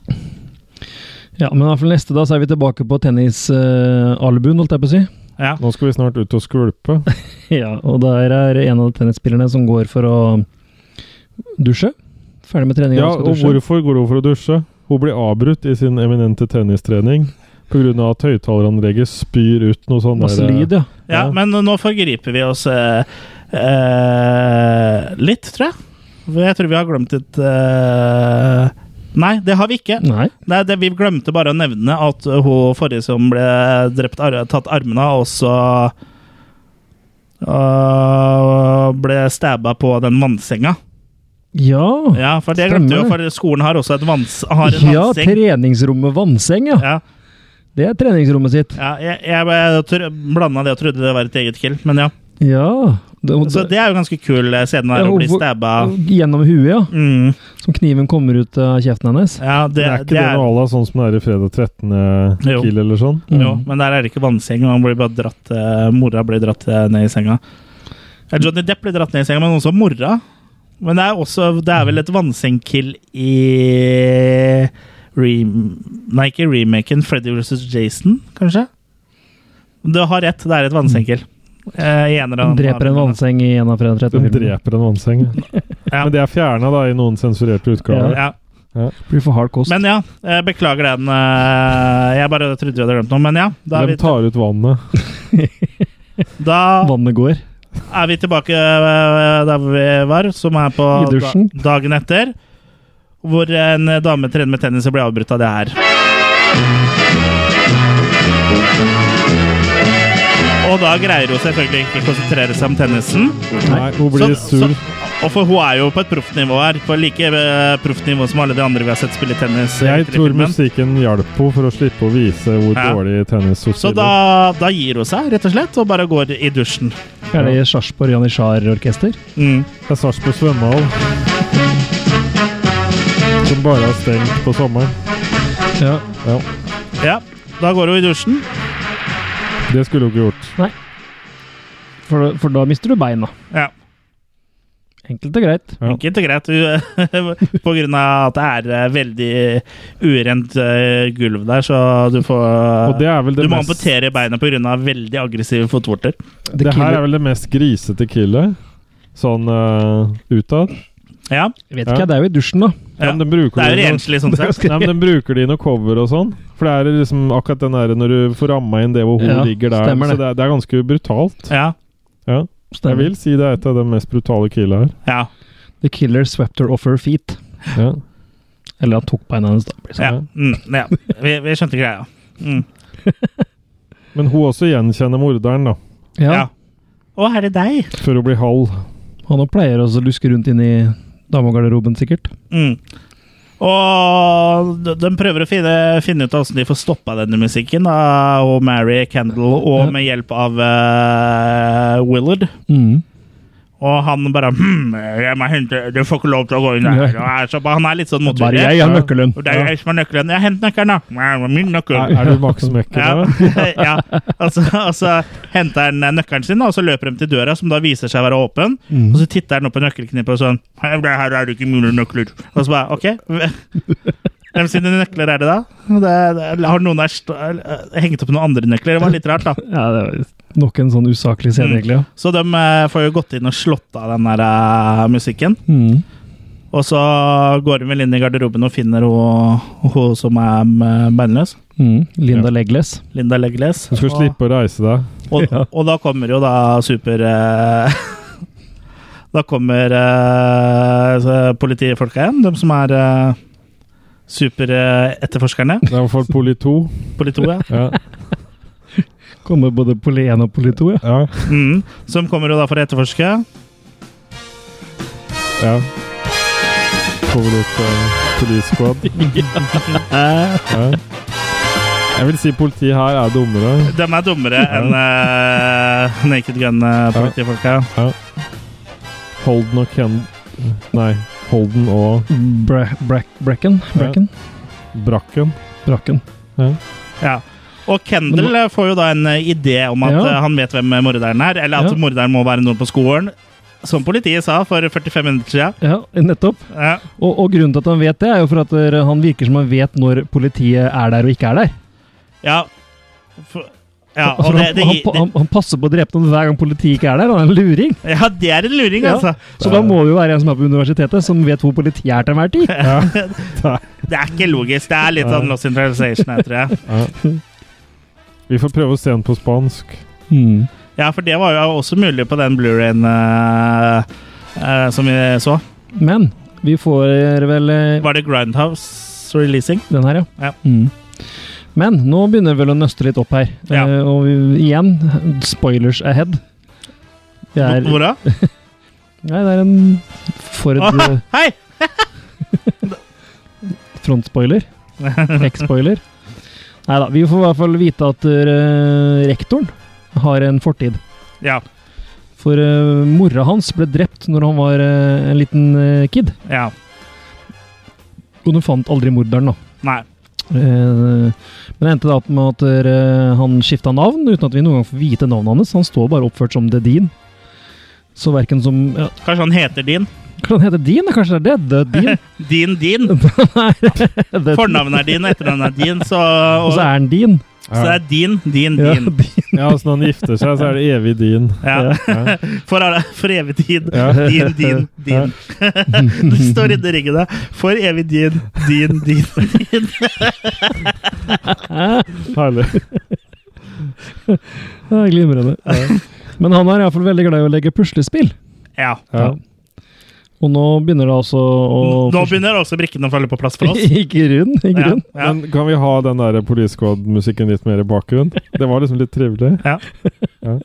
S3: Ja, Men i hvert fall neste da, så er vi tilbake på tennisalbuen, holdt jeg på å si.
S1: Ja.
S2: Nå skal vi snart ut og skvulpe.
S3: Ja, og der er en av tennisspillerne som går for å dusje. Ferdig med treninga.
S2: Ja,
S3: skal
S2: og
S3: dusje.
S2: hvorfor går hun for å dusje? Hun blir avbrutt i sin eminente tennistrening pga. at høyttaleranlegget spyr ut noe sånn
S3: Masse
S2: der-
S3: lyd, ja.
S1: ja,
S2: Ja.
S1: men nå forgriper vi oss eh, eh, litt, tror jeg. For Jeg tror vi har glemt et eh, Nei, det har vi ikke.
S3: Nei.
S1: Nei, det, vi glemte bare å nevne at hun forrige som ble drept, ar tatt armene av, også øh, ble stabba på den vannsenga.
S3: Ja,
S1: Ja, for det glemte vi jo,
S3: Stemmer
S1: for skolen har også et vanns har en
S3: ja
S1: vannseng.
S3: treningsrommet Vannseng, ja.
S1: Ja,
S3: Det er treningsrommet sitt.
S1: ja, jeg, jeg, tr- blanda det og trodde det var et eget kill, men ja.
S3: Ja. Det,
S1: Så det er jo ganske kul eh, scenen her,
S3: Ja,
S1: å bli
S3: hvor-
S1: stabba.
S3: Gjennom huet, ja.
S1: Mm,
S3: Som kniven kommer ut av kjeften hennes.
S1: ja, det,
S2: Det er ikke det, noe à la sånn som det er i fredag 13.
S1: Jo.
S2: kill eller sånn?
S1: Jo, men der er det ikke vannseng. Man blir bare dratt, eh, mora blir dratt eh, ned i senga. Eh, Johnny Depp blir dratt ned i senga, men også mora. Men det er, også, det er vel et vannsengkill i rem, Nei, ikke remaken. Freddy vs. Jason, kanskje? Du har rett, det er et vannsengkill. Eh, i en eller
S3: Hun
S1: annen-
S3: dreper en vannseng i en av Fredag
S2: De
S3: 13-filmene.
S2: dreper en vannseng.
S1: Ja.
S2: Men det er fjerna i noen sensurerte utgaver.
S1: Ja.
S3: Blir for hard kost.
S1: Men ja, jeg beklager den. eh, Jeg bare trodde vi hadde glemt noe, men ja. Da er
S2: De
S1: vi,
S2: tar ut vannet.
S1: da
S3: Vannet går.
S1: er vi tilbake eh, der vi var, som er på
S3: I dusjen.
S1: da- dagen etter. Hvor en dame trener med tennis og blir avbrutt av det her. Og da greier hun selvfølgelig ikke å konsentrere seg om tennisen.
S2: Nei, hun blir sur.
S1: og for hun er jo på et proffnivå her. På like eh, proft nivå som alle de andre vi har sett spille tennis. eh,
S2: Jeg
S1: etter i
S2: tror
S1: filmen.
S2: musikken hjalp henne for å slippe å vise hvor
S1: Ja.
S2: dårlig tennis hun
S1: Så
S2: spiller.
S1: da, da gir hun seg, rett og slett, og bare går i dusjen.
S3: Er det Sarpsborg Janitsjar-orkester?
S1: Mm.
S2: Det er Sarpsborg svømmehall. Som bare er stengt på sommeren.
S3: Ja.
S2: Ja,
S1: Ja, da går hun i dusjen.
S2: Det skulle hun ikke gjort.
S3: For, for da mister du beina.
S1: Ja.
S3: Enkelt og greit.
S2: Ja.
S1: Enkelt og greit. Du- På grunn av at det er eh, veldig urent eh, gulv der, så du
S2: Og
S1: får eh,
S2: det er vel det
S1: Du må
S2: mest
S1: amputere beina pga. veldig aggressive fotvorter.
S2: Det her er vel det mest grisete killet sånn eh, utad.
S1: Ja.
S3: Jeg vet ikke, det er jo i dusjen, da.
S1: ja.
S2: Ja, men
S1: Det
S2: den bruker
S1: er
S2: de
S1: jo
S2: i noe-
S1: renslig, sånn sett.
S2: Nei, men den bruker de i noe cover og sånn. For det er liksom akkurat den der når du får ramma inn det hvor hun
S3: Ja,
S2: ligger der.
S3: stemmer
S2: Så
S3: det.
S2: det er, det er ganske brutalt.
S1: Ja.
S2: Ja. Jeg vil si det er et av de mest brutale killa her.
S1: ja.
S3: The killer swept her off her feet.
S2: Ja.
S3: Eller han tok beina hennes, da. blir det
S1: ja.
S3: sånn.
S1: Mm, ja. Vi, vi skjønte greia. Mm.
S2: Men hun også gjenkjenner morderen, da.
S3: Ja.
S1: Ja. Å, er det deg?
S2: Før hun blir halv.
S3: Han òg pleier også å luske rundt inni damegarderoben, sikkert.
S1: Mm. Og de- de prøver å finne, finne ut hvordan de får stoppa denne musikken. Da, og Mary Kendall, og
S3: Ja.
S1: med hjelp av eh, Willard.
S3: Mm.
S1: Og han bare hm, jeg må hente, 'Du får ikke lov til å gå inn her.' Og er så, han er litt sånn
S3: Bare
S1: motvillig.
S3: jeg har nøkkelen.
S1: Og det er jeg som har nøkkelen. Ja, hent nøkkelen, da. «Nei, det var Min
S2: Er,
S1: nøkkel.
S2: er du Max Mekker
S1: Ja,
S2: da?
S1: ja. Og, så, og så henter han nøkkelen sin, da, og så løper de til døra, som da viser seg å være åpen. Og så titter han opp på nøkkelknippet og sånn «Hei, det 'Her er det ikke mine nøkler.' Og så bare OK. Hvem sine nøkler er det, da? Det, det, har noen der st- hengt opp noen andre nøkler? Det var litt rart, da.
S3: Ja, det er nok en sånn usaklig scene,
S1: Mm.
S3: egentlig. ja.
S1: Så de eh, får jo gått inn og slått av den der eh, musikken.
S3: Mm.
S1: Og så går hun vel inn i garderoben og finner hun, hun som er mm, beinløs.
S3: Mm. Linda
S2: Ja.
S3: Legless.
S1: Linda Legless.
S2: Du skal
S1: Og-
S2: slippe å reise deg.
S1: Og,
S3: Ja.
S1: og da kommer jo da super... eh, da kommer eh, så politifolka igjen, de som er eh, super eh, superetterforskerne.
S2: Det er i hvert fall poli 2.
S1: Politoet.
S2: Ja.
S3: Kommer både poli 1 og poli 2, ja.
S2: Ja.
S1: Mm, som kommer jo da for å etterforske.
S2: ja. Får vi litt uh, police squad.
S1: Eh,
S2: Ja. Jeg vil si politiet her er dummere.
S1: De er dummere enn eh, Naked Gun-politifolka.
S2: Holden og Ken... Nei. Holden og
S3: Bra, bra, bracken? Bracken?
S2: Brakken.
S3: Brakken.
S1: Ja. Og Kendall eh, får jo da en eh, idé om at
S3: Ja.
S1: eh, han vet hvem morderen er, eller at
S3: Ja.
S1: morderen må være noen på skolen. Som politiet sa for 45 minutter siden.
S3: Ja, nettopp.
S1: Ja.
S3: Og, og grunnen til at han vet det, er jo for at eh, han virker som han vet når politiet er der og ikke er der.
S1: ja. For, ja,
S3: For
S1: og det,
S3: Altså, han,
S1: det,
S3: han,
S1: gir- det,
S3: han, han passer på å drepe noen hver gang politiet ikke er der. Han er en luring.
S1: ja, det er en luring,
S3: Ja.
S1: altså.
S3: Så da må det jo være en som er på universitetet, som vet hvor politiet er til enhver tid.
S1: Det er ikke logisk. Det er litt sånn Lost in Translation, jeg tror jeg.
S2: Vi får prøve å se den på spansk.
S3: Mm.
S1: Ja, for det var jo også mulig på den Blu-rayen eh, eh, som vi så.
S3: Men vi får vel eh,
S1: Var det Grindhouse Releasing?
S3: Den her, ja.
S1: Ja.
S3: Mm. Men nå begynner det vel å nøste litt opp her.
S1: Ja.
S3: Eh, og vi- igjen, spoilers ahead. Det er,
S1: Hvor da?
S3: nei, det er en Ford eh,
S1: Hei!
S3: frontspoiler. Backspoiler. Nei da. Vi får i hvert fall vite at eh, rektoren har en fortid.
S1: Ja.
S3: For eh, mora hans ble drept når han var eh, en liten eh, kid.
S1: ja.
S3: Og hun fant aldri morderen, da.
S1: Nei.
S3: Eh, Men det endte da opp med at eh, han skifta navn, uten at vi noen gang får vite navnet hans. Han står bare oppført som The Dean. Så verken som ja,
S1: Kanskje han heter Din?
S3: Hva heter det? Dean? Kanskje det er det? The Dean?
S1: Din Din.
S3: The
S1: Fornavnet er Din, etternavnet er Din, så,
S3: Eh, Og
S1: og,
S3: så er han Dean.
S1: så det er Din, Din,
S3: Ja,
S1: Din.
S3: Dean.
S2: Ja, altså Når han gifter seg, så er det evig din.
S1: Ja.
S2: Ja.
S1: For, alle- for evig tid.
S2: Ja.
S1: Din, din, din. Det står inni ringen der. For evig din, din, din.
S2: Herlig.
S3: Ja, Glimrende. Men han er iallfall veldig glad i å legge puslespill.
S1: Ja.
S2: Ja.
S3: Og nå begynner det altså å
S1: Nå begynner også brikkene å falle på plass for oss.
S3: I grunn, i
S1: Ja,
S3: grunn.
S1: ja.
S2: Men kan vi ha den der Police Squad-musikken litt mer i bakgrunnen? Det var liksom litt trivelig.
S1: Ja.
S2: Ja.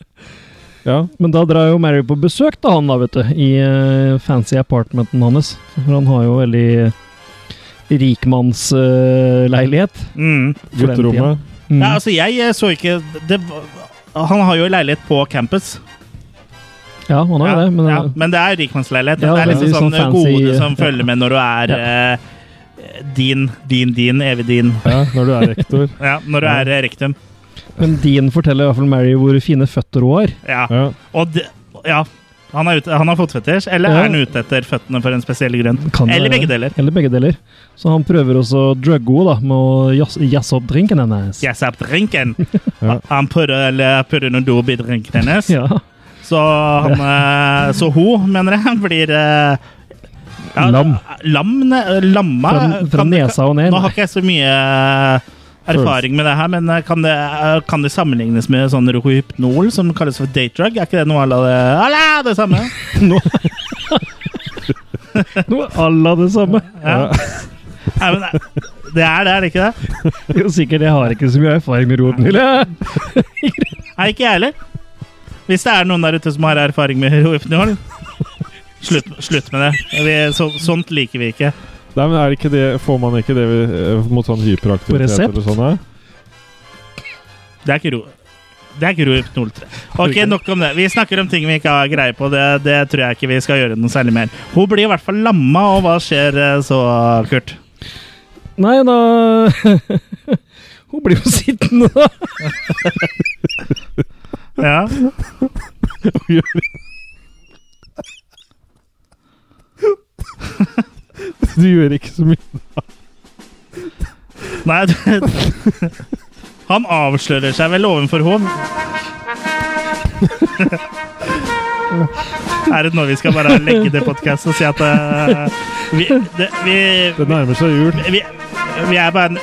S2: ja.
S3: Men da drar jo Mary på besøk til han, da, vet du. I eh, fancy apartmenten hans. For han har jo veldig rikmannsleilighet.
S1: Mm.
S3: For den tiden.
S2: Gutterommet.
S3: Mm.
S1: Ja, altså, jeg eh, så ikke det, var- Han har jo leilighet på campus.
S3: ja, han har jo
S1: Ja,
S3: det, men eh,
S1: ja, men det er rikmannsleilighet.
S3: Ja,
S1: det er
S3: det er
S1: liksom
S3: litt
S1: sånn,
S3: sånn fancy-
S1: gode som
S3: ja.
S1: følger med når du er eh, din, din, din, evig din.
S2: Ja, når du er rektor.
S1: Ja, når du
S2: Ja.
S1: er eh, rektum.
S3: Men Dean forteller i hvert fall Mary hvor fine føtter hun har.
S1: Ja.
S2: Ja.
S1: Og det, ja. Han, er ute, han har fotfetisj, eller
S3: Ja.
S1: er han ute etter føttene for en spesiell grunn?
S3: Kan det
S1: Eller
S3: være.
S1: begge deler.
S3: Eller begge deler. Så han prøver også å drugge henne da, med å jazz- jazze opp drinken hennes.
S1: Yes, up drinken.
S2: Ja.
S1: Han putter, eller putter noe dop i drinken hennes,
S3: Ja.
S1: så, han, eh, så hun, mener jeg, blir eh, ja,
S3: Lam.
S1: lam ne- lamma?
S3: Fra, fra
S1: Ah, Kan-
S3: nesa og ned.
S1: Nå har ikke jeg så mye eh, erfaring med det her, men eh, kan det, kan det sammenlignes med sånn rohypnol som kalles for date drug? Er ikke det noe à la det, à la det samme?
S3: Noe à la det samme.
S1: Ja. Nei, men det- det er det, er det ikke det?
S3: Jo, sikkert. Jeg har ikke så mye erfaring med rohypnol.
S1: Nei, ikke jeg heller. Hvis det er noen der ute som har erfaring med rohypnol, slutt, slutt med det. Vi, så, sånt liker vi ikke.
S2: Nei, men er det ikke det, Får man ikke det eh, mot sånn
S3: På
S2: hyperaktivitet
S3: resept?
S2: eller sånn? eh?
S1: Det er ikke ro... Det er ikke rohypnol. Ok, nok om det. Vi snakker om ting vi ikke har greie på. Det, det tror jeg ikke vi skal gjøre noe særlig mer. Hun blir i hvert fall lamma, og hva skjer eh, så, Kurt?
S3: Nei, da Hun blir jo sittende, da.
S1: Ja.
S2: Du gjør ikke så mye.
S1: Nei du- Han avslører seg vel ovenfor henne. Er det nå vi skal bare legge det podkastet og si at eh, vi, det, vi,
S2: Det nærmer seg jul.
S1: vi, vi er bare en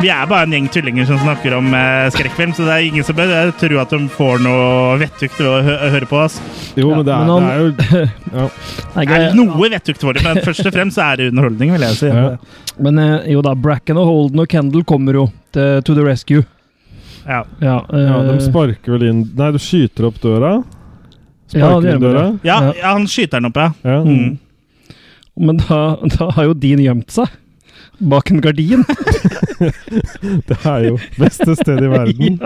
S1: vi er bare en gjeng tullinger som snakker om eh, skrekkfilm, så det er ingen som bør eh, tro at de får noe vettug til å hø høre på oss.
S2: Jo,
S3: Ja,
S2: men det
S3: men
S2: er,
S3: han-
S2: det er jo
S3: Nei,
S1: Det er
S3: greia-
S1: noe vettug til det, men først og fremst så er det underholdning, vil jeg si.
S2: Ja.
S3: Men eh, jo da, Bracken og Holden og Kendall kommer jo til, to the rescue.
S1: Ja.
S3: Ja, eh,
S2: Ja, de sparker vel inn Nei, du skyter opp døra.
S3: Ja,
S2: Sparker
S3: det
S2: inn
S3: gjør de.
S2: døra.
S1: Ja, ja, han skyter den opp, ja.
S2: Ja.
S1: Mm.
S3: Men da, da har jo Dean gjemt seg. Bak en gardin.
S2: Det er jo beste sted i verden.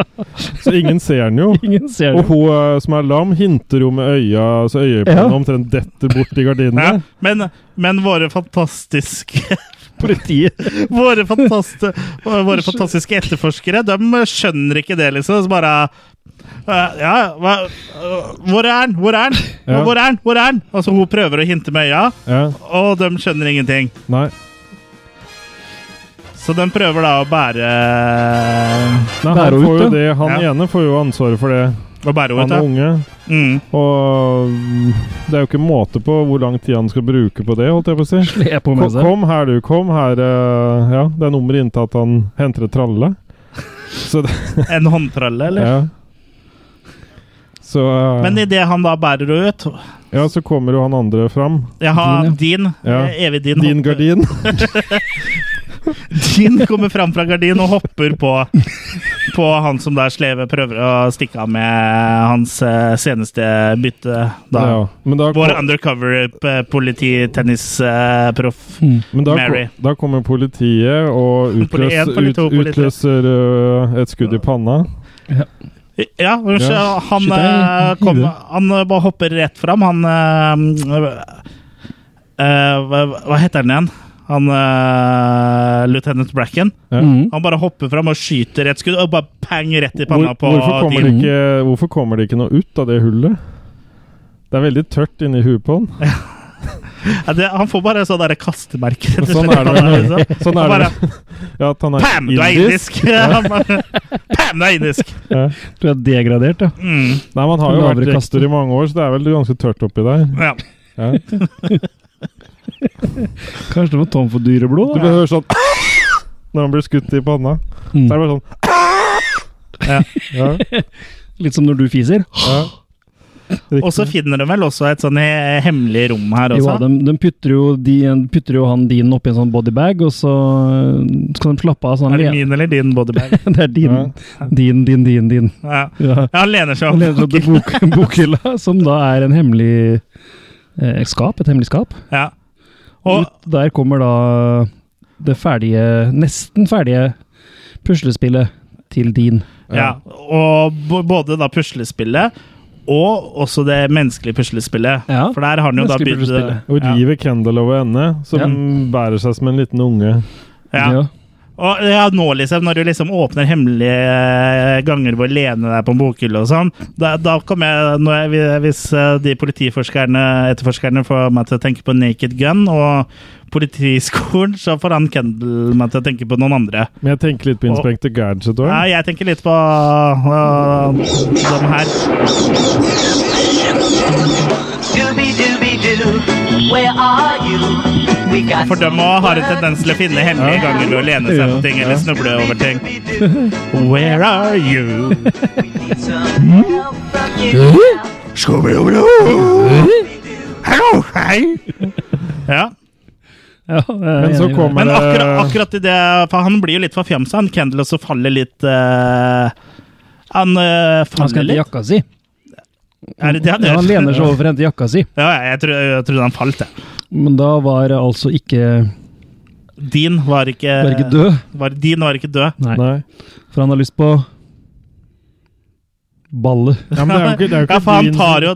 S2: Så ingen ser den jo.
S3: Ingen ser
S2: Og
S3: det.
S2: hun eh, som er lam, hinter jo med øya, så øyet på
S3: Ja.
S2: henne omtrent detter bort i
S1: ja.
S2: gardinene.
S1: Men, men våre fantastiske
S3: politiet.
S1: Våre, fantast, våre fantastiske etterforskere de skjønner ikke det, liksom. Så bare eh, Ja, hva, eh, hvor er han? Hvor er han?
S2: Ja.
S1: Hvor er han? Hvor er han? Altså, hun prøver å hinte med øya,
S2: Ja,
S1: og de skjønner ingenting.
S2: nei.
S1: Så de prøver da å bære
S2: nei
S3: Det er
S2: han,
S3: jo
S2: får jo
S3: ute.
S2: det, han
S1: Ja.
S2: ene får jo ansvaret for det.
S1: Å bære henne
S2: Han er
S1: ut,
S2: unge.
S1: da. Mm.
S2: Og mm, det er jo ikke måte på hvor lang tid han skal bruke på det, holdt jeg på å si.
S3: Sle på
S2: Kom,
S3: med seg.
S2: kom her, du. Kom her. eh, ja, det er nummeret inntatt han henter et tralle. Så det
S1: En håndtralle, eller?
S2: Ja. Så, eh,
S1: Men idet han da bærer henne ut
S2: ja, så kommer jo han andre fram.
S1: Jeg har
S3: Din,
S1: din.
S2: Ja.
S1: eh, Evig din.
S2: Din gardin.
S1: Din kommer fram fra gardinen og hopper på På han som da sleve prøver å stikke av med hans eh, seneste bytte. Da.
S2: Ja, men da,
S1: Vår eh,
S2: kom,
S1: undercover-polititennisproff.
S3: Mm.
S2: men da,
S1: Mary.
S2: kom, da kommer politiet og
S1: Poli- en,
S2: utløser,
S1: poli-
S2: ut,
S1: to, poli- tre.
S2: utløser eh, et skudd i panna.
S1: Ja, unnskyld,
S2: Ja.
S1: han,
S3: Shit, det er
S1: eh, kom,
S3: hyggelig.
S1: han eh, bare hopper rett fram. Han eh, eh, hva, hva heter han igjen? Han eh, Lieutenant Bracken.
S2: Ja.
S3: Mm.
S1: Han bare hopper fram og skyter et skudd, og bare pang rett i
S2: Hvor,
S1: panna på
S2: hvorfor, kommer det
S1: din.
S2: ikke, hvorfor kommer det ikke noe ut av det hullet? Det er veldig tørt inni huet på han.
S1: Ja, det, han får bare sånn derre kastemerke. rett og
S2: Sånn
S1: slett.
S2: er det vel.
S1: Han liksom-
S2: Sånn
S1: han
S2: er det.
S1: bare,
S2: Ja, at han er
S1: Pam, du er indisk! Han bare, Pam, du er indisk!
S2: Ja.
S3: Du er degradert, ja.
S1: Mm,
S2: Nei, man har jo
S3: Lavere
S2: vært
S3: kaster.
S2: rektor i mange år, så det er vel ganske tørt oppi der.
S1: ja.
S2: Ja. Du
S3: Kanskje du var tom for dyreblod? da?
S2: behøver sånn når han blir skutt i panna. Så er det
S3: Mm.
S2: bare sånn ja.
S3: Litt som når du fiser.
S2: Ja.
S1: Og så finner de vel også et sånn he- hemmelig rom her
S3: Jo,
S1: også.
S3: de, de, putter jo, de putter jo han din oppi en sånn bodybag, og så øh, skal de slappe av. Sånn,
S1: Er det min eller din bodybag?
S3: det er din,
S2: Ja.
S3: din, din, din. din.
S1: Ja.
S3: Ja.
S1: Ja, han lener seg
S3: Han
S1: opp.
S3: leder opp til bok, bokhylla, som da er en hemmelig eh, skap. Et hemmelig skap.
S1: Ja.
S3: Og
S1: Og
S3: Ut der kommer da det ferdige, nesten ferdige puslespillet til din.
S1: Ja, og b- både da puslespillet og også det menneskelige puslespillet.
S3: Ja,
S1: For der har han jo da
S3: menneskelige
S1: begynt eh,
S3: puslespillet.
S2: Og river Kendal over ende, som bærer seg som en liten unge.
S1: ja. ja. Og ja, nå liksom, når du liksom åpner hemmelige ganger hvor Lene er på en bokhylle og sånn, da, da kommer jeg, når jeg Hvis eh, de politiforskerne, etterforskerne får meg til å tenke på Naked Gun og politiskolen, så får han Kendal meg til å tenke på noen andre.
S2: Men jeg tenker litt på Inspector Gadget òg.
S1: Ja, jeg tenker litt på uh, dem her.
S8: Scooby Dooby Doo, where are you? We got
S1: For de òg har en tendens til å finne hemmelige ganger ved å lene seg på
S3: Ja.
S1: ting eller snuble over ting.
S8: Dooby
S1: Where are you?
S8: Doo.
S1: Ja.
S3: Ja, jeg er
S2: Men så
S3: enig i det.
S2: kommer
S1: Men
S2: det
S1: akkurat, akkurat i det For han blir jo litt forfjamsa, han Kendal, og så faller litt eh, Han eh,
S3: Han skal
S1: faller
S3: hente
S1: litt.
S3: jakka si.
S1: Er det det han
S3: Ja,
S1: gjør?
S3: han lener seg over for å hente jakka si.
S1: Ja, jeg trodde, jeg trodde han falt, jeg.
S3: Men da var altså ikke
S1: Din var ikke,
S3: Var ikke død.
S1: var- din var ikke død.
S3: Nei.
S2: Nei.
S3: For han har lyst på ballet.
S2: Ja, men det er jo ikke, det er jo
S1: Ja, for
S2: ikke
S1: han
S2: din
S1: tar jo